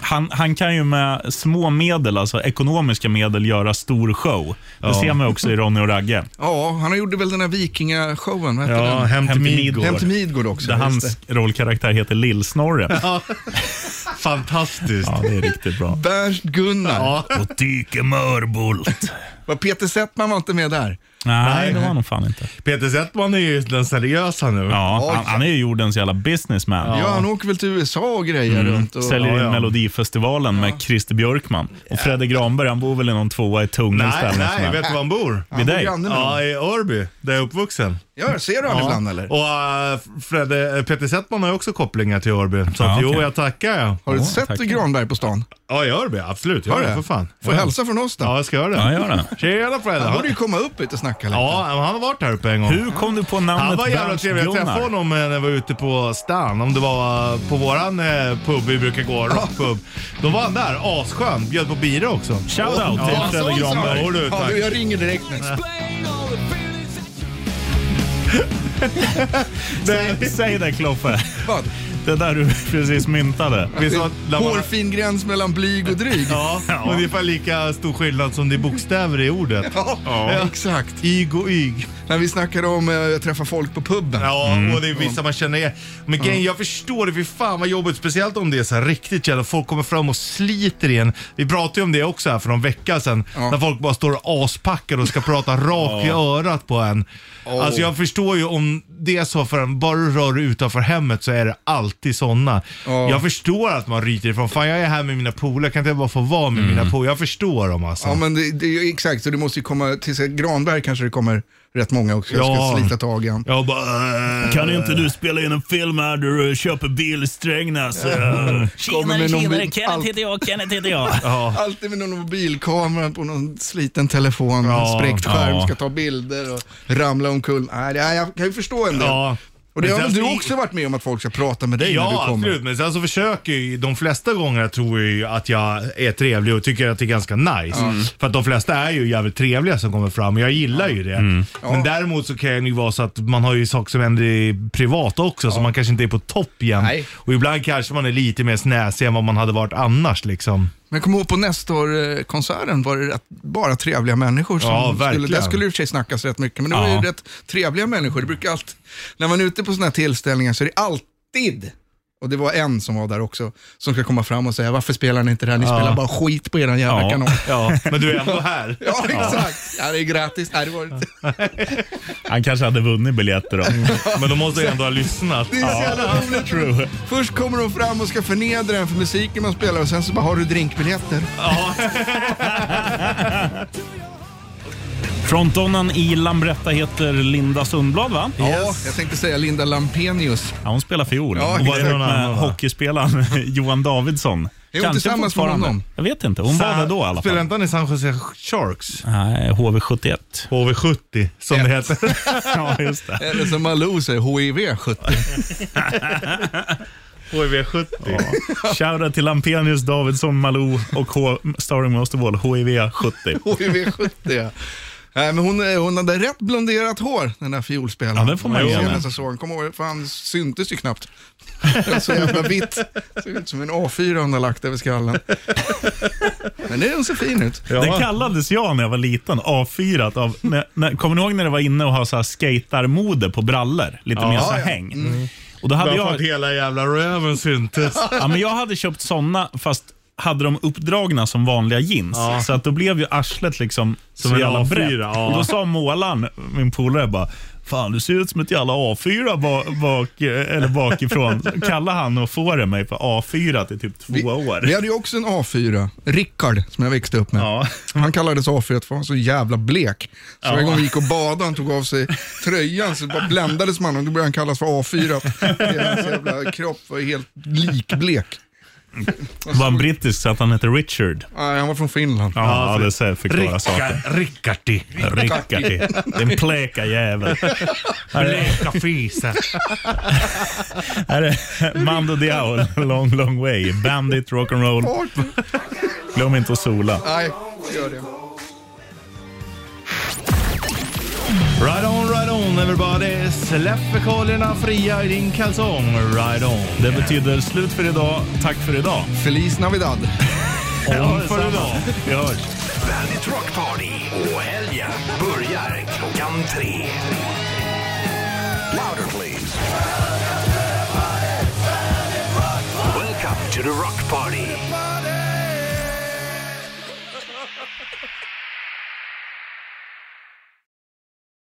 Speaker 4: han, han kan ju med små medel, alltså ekonomiska medel, göra stor show. Det ser man ju också i Ronny och Ragge.
Speaker 3: Ja, han gjorde väl den här vikingashowen, vad hette
Speaker 2: Ja,
Speaker 3: den?
Speaker 2: hem till
Speaker 4: Hem till
Speaker 2: Midgård.
Speaker 4: Midgård.
Speaker 3: Hem till Midgård också.
Speaker 4: Där
Speaker 3: just
Speaker 4: hans rollkaraktär heter Lill-Snorre.
Speaker 2: Fantastiskt.
Speaker 4: Ja, det är riktigt bra.
Speaker 3: det. Bernt Gunnar.
Speaker 2: Ja.
Speaker 4: Och dyker Mörbult.
Speaker 3: Var Peter Settman var inte med där.
Speaker 4: Nej, det var nog fan inte.
Speaker 2: Peter Settman är ju den seriösa nu.
Speaker 4: Ja, han,
Speaker 3: Oj.
Speaker 4: han är ju jordens jävla businessman.
Speaker 3: Ja, han åker väl till USA och grejer
Speaker 2: Mm.
Speaker 3: runt. Och,
Speaker 4: Säljer in
Speaker 2: ja.
Speaker 4: Melodifestivalen med Christer Björkman. Och Fredde Granberg, han bor väl i någon tvåa i Tungälv
Speaker 2: Nej,
Speaker 4: eller något
Speaker 2: nej,
Speaker 4: sånt
Speaker 2: vet
Speaker 4: där.
Speaker 2: du var han bor?
Speaker 4: Vid
Speaker 3: bor
Speaker 4: dig?
Speaker 3: granne med
Speaker 2: Ja,
Speaker 3: honom.
Speaker 2: i Örby, där jag är uppvuxen.
Speaker 3: ja, ser du honom ibland eller?
Speaker 2: Och uh, Fredde, eh, Peter Settman har ju också kopplingar till Örby. Så
Speaker 4: Ja,
Speaker 2: att, jo,
Speaker 4: okej.
Speaker 2: jag tackar jag.
Speaker 3: Har du
Speaker 4: Ja,
Speaker 3: sett
Speaker 4: tack.
Speaker 3: Granberg på stan?
Speaker 2: Ja, i Örby, absolut.
Speaker 3: Har
Speaker 2: Gör
Speaker 3: du
Speaker 2: det för fan.
Speaker 3: Får
Speaker 2: ja.
Speaker 3: hälsa från oss då.
Speaker 2: Ja, jag ska göra det.
Speaker 4: Ja, gör det.
Speaker 2: Tjena Fredde.
Speaker 3: Han borde ju
Speaker 2: Han-
Speaker 3: komma upp hit och snacka lite.
Speaker 2: Ja, han har varit här uppe en gång.
Speaker 4: Hur kom du på namnet
Speaker 2: Han var jävla
Speaker 4: Bernt
Speaker 2: trevlig. Jag
Speaker 4: Gunnar?
Speaker 2: träffade honom eh, när jag var ute på stan. Om det var eh, på våran eh, pub vi brukar gå, rockpub. Då var han där, asskön. Bjöd på bira också.
Speaker 4: Shoutout till
Speaker 2: Ja,
Speaker 4: Fredde
Speaker 2: sån sak.
Speaker 4: Granberg.
Speaker 2: Jo, du,
Speaker 3: Ja,
Speaker 2: tack.
Speaker 3: du, jag ringer direkt nu.
Speaker 4: Säg, säg det Kloffe.
Speaker 3: Vad?
Speaker 4: Det där du precis myntade.
Speaker 2: Visst var
Speaker 3: Det är
Speaker 2: Lamar-
Speaker 3: Hårfin gräns mellan blyg och dryg.
Speaker 2: Ja, ungefär lika stor skillnad som det är bokstäver i ordet.
Speaker 3: Ja,
Speaker 2: Ja.
Speaker 3: exakt.
Speaker 2: Yg och yg. Mm.
Speaker 3: När vi snackade om eh, att träffa folk på puben.
Speaker 2: Ja, och det är vissa man känner igen. Men grejen, jag förstår det. Fy fan vad jobbigt. Speciellt om det är så här riktigt jävla. Folk kommer fram och sliter igen. Vi pratade ju om det också här för någon vecka sedan.
Speaker 3: Ja.
Speaker 2: När folk bara står aspackade och ska prata rakt i örat på en. Alltså jag förstår ju om det är så för en, bara du rör dig utanför hemmet så är det alltid sådana.
Speaker 3: Ja.
Speaker 2: Jag förstår att man ryter ifrån. Fan jag är här med mina polare, kan inte jag bara få vara med mina polare? Jag förstår dem alltså.
Speaker 3: Ja, men det, det, är ju exakt. Så det måste ju komma, till sig- Granberg kanske det kommer rätt många också. Jag
Speaker 2: Ja.
Speaker 3: ska slita tag i han.
Speaker 2: Jag bara...
Speaker 4: Kan inte du spela in en film här där du köper bil i Strängnäs?
Speaker 3: Kommer med någon bil- allt-
Speaker 4: heter jag, Kenneth heter jag.
Speaker 3: Alltid med någon mobilkamera på någon sliten telefon,
Speaker 2: Ja.
Speaker 3: spräckt skärm,
Speaker 4: Ja.
Speaker 3: ska ta bilder och ramla omkull. Nej, det- nej, jag kan ju förstå en del.
Speaker 2: Ja.
Speaker 3: Och det
Speaker 2: Men
Speaker 3: har
Speaker 2: sen
Speaker 3: väl du
Speaker 2: så-
Speaker 3: också varit med om att folk ska prata med dig när
Speaker 2: Ja,
Speaker 3: du kommer?
Speaker 2: absolut. Men sen så försöker jag ju, de flesta gånger tror jag ju att jag är trevlig och tycker att det är ganska nice.
Speaker 3: Mm.
Speaker 2: För att de flesta är ju jävligt trevliga som kommer fram och jag gillar ju det.
Speaker 3: Mm.
Speaker 2: Men däremot så kan det ju vara så att man har ju saker som händer i privat också, så man kanske inte är på topp igen.
Speaker 3: Nej.
Speaker 2: Och ibland kanske man är lite mer snäsig än vad man hade varit annars liksom.
Speaker 3: Men jag kommer ihåg på Nestor-konserten var det rätt, bara trevliga människor. Som
Speaker 2: Ja, verkligen.
Speaker 3: skulle, där skulle i och för sig snackas rätt mycket, men det var
Speaker 4: Ja.
Speaker 3: ju rätt trevliga människor. Det brukar alltid, när man är ute på sådana här tillställningar så är det alltid, och det var en som var där också, som ska komma fram och säga varför spelar ni inte det här? Ni spelar bara skit på eran jävla
Speaker 4: Ja.
Speaker 3: kanon.
Speaker 2: Ja, men du är ändå här.
Speaker 3: Ja, exakt. Ja, det är gratis. Nej, det var det inte.
Speaker 4: Han kanske hade vunnit biljetter då.
Speaker 2: Men de måste ju ändå ha lyssnat.
Speaker 3: Det är så jävla roligt.
Speaker 4: True.
Speaker 3: Först kommer de fram och ska förnedra en för musiken man spelar och sen så bara, har du drinkbiljetter?
Speaker 4: Frontdonan i Lambretta heter Linda Sundblad va?
Speaker 3: Ja, jag tänkte säga Linda Lampenius.
Speaker 4: Ja, hon spelar fiol
Speaker 3: Ja,
Speaker 4: och var
Speaker 3: exakt.
Speaker 4: ihop med
Speaker 2: Annan, va?
Speaker 4: hockeyspelaren Johan Davidsson.
Speaker 3: Är hon tillsammans med
Speaker 4: fortfarande.
Speaker 3: honom?
Speaker 4: Jag vet inte. Hon var det då i alla
Speaker 2: Spelar
Speaker 4: fall.
Speaker 2: inte han i San Jose Sharks?
Speaker 4: Nej, HV71.
Speaker 2: HV70 som det heter.
Speaker 4: ja, just det.
Speaker 3: Eller som Malou säger, HIV 70.
Speaker 2: HV70.
Speaker 4: Ja. Shoutout till Lampenius, Davidsson, Malou och H- Starring Most of All, HIV70.
Speaker 3: HIV 70 ja. Nej, men hon, eh, hon hade rätt blonderat hår, den där fiolspelaren.
Speaker 4: Ja, det får man
Speaker 3: Jag
Speaker 4: ju ge
Speaker 3: såg
Speaker 4: henne.
Speaker 3: nästan så. Han kom ihåg, för han syntes ju knappt. Det var så jävla vitt. Såg ut som en A4 hon har lagt över skallen. Men nu är hon så fin ut.
Speaker 2: Ja.
Speaker 4: Det kallades jag när jag var liten, A4. Av, när, när, kommer ni ihåg när det var inne och ha så här skatarmode på brallor? Lite mer så här
Speaker 3: ja.
Speaker 4: häng. Och då hade
Speaker 2: Mm. Bara för
Speaker 4: jag,
Speaker 2: att hela jävla röven syntes.
Speaker 4: ja, men jag hade köpt sådana, fast hade de uppdragna som vanliga jeans. Så att då blev ju arslet liksom
Speaker 2: Som
Speaker 4: så
Speaker 2: en
Speaker 4: jävla
Speaker 2: A4,
Speaker 4: brett.
Speaker 2: ja.
Speaker 4: Och då sa målaren, min polare, bara Fan, du ser ut som ett jävla A4 ba- bak, eller bakifrån. Så Kallade han och fåre mig på A4 till typ två
Speaker 3: Vi,
Speaker 4: år.
Speaker 3: vi hade ju också en A4, Rickard, som jag växte upp med.
Speaker 4: Ja.
Speaker 3: Han kallades A4 för han var så jävla blek. Så varje gång vi gick och badade han tog av sig tröjan så bara bländades man och då började han kallas för A4. Hela hans jävla kropp var helt likblek.
Speaker 4: Var han brittisk så att han hette Richard?
Speaker 3: Nej, han var från Finland.
Speaker 4: Ja, det så förklarar saker.
Speaker 2: Ricka- Rickardi.
Speaker 4: Rickard. Den bleka jäveln. Här är-
Speaker 2: Bleka fisen.
Speaker 4: här är Mando Diao, long, long way. Bandit, rock'n'roll.
Speaker 3: Vart?
Speaker 4: Glöm inte att sola.
Speaker 3: Nej, gör det.
Speaker 2: Right on, right on. on everybody, släpp fekalierna fria i din kalsong. Ride on.
Speaker 4: Det betyder slut för idag. Tack för idag.
Speaker 3: Feliz Navidad.
Speaker 4: Ja,
Speaker 2: för
Speaker 4: detsamma.
Speaker 2: idag.
Speaker 4: Vi hörs.
Speaker 1: Bandit Rock Party och helgen börjar klockan tre. Louder please. Welcome to the Rock Party.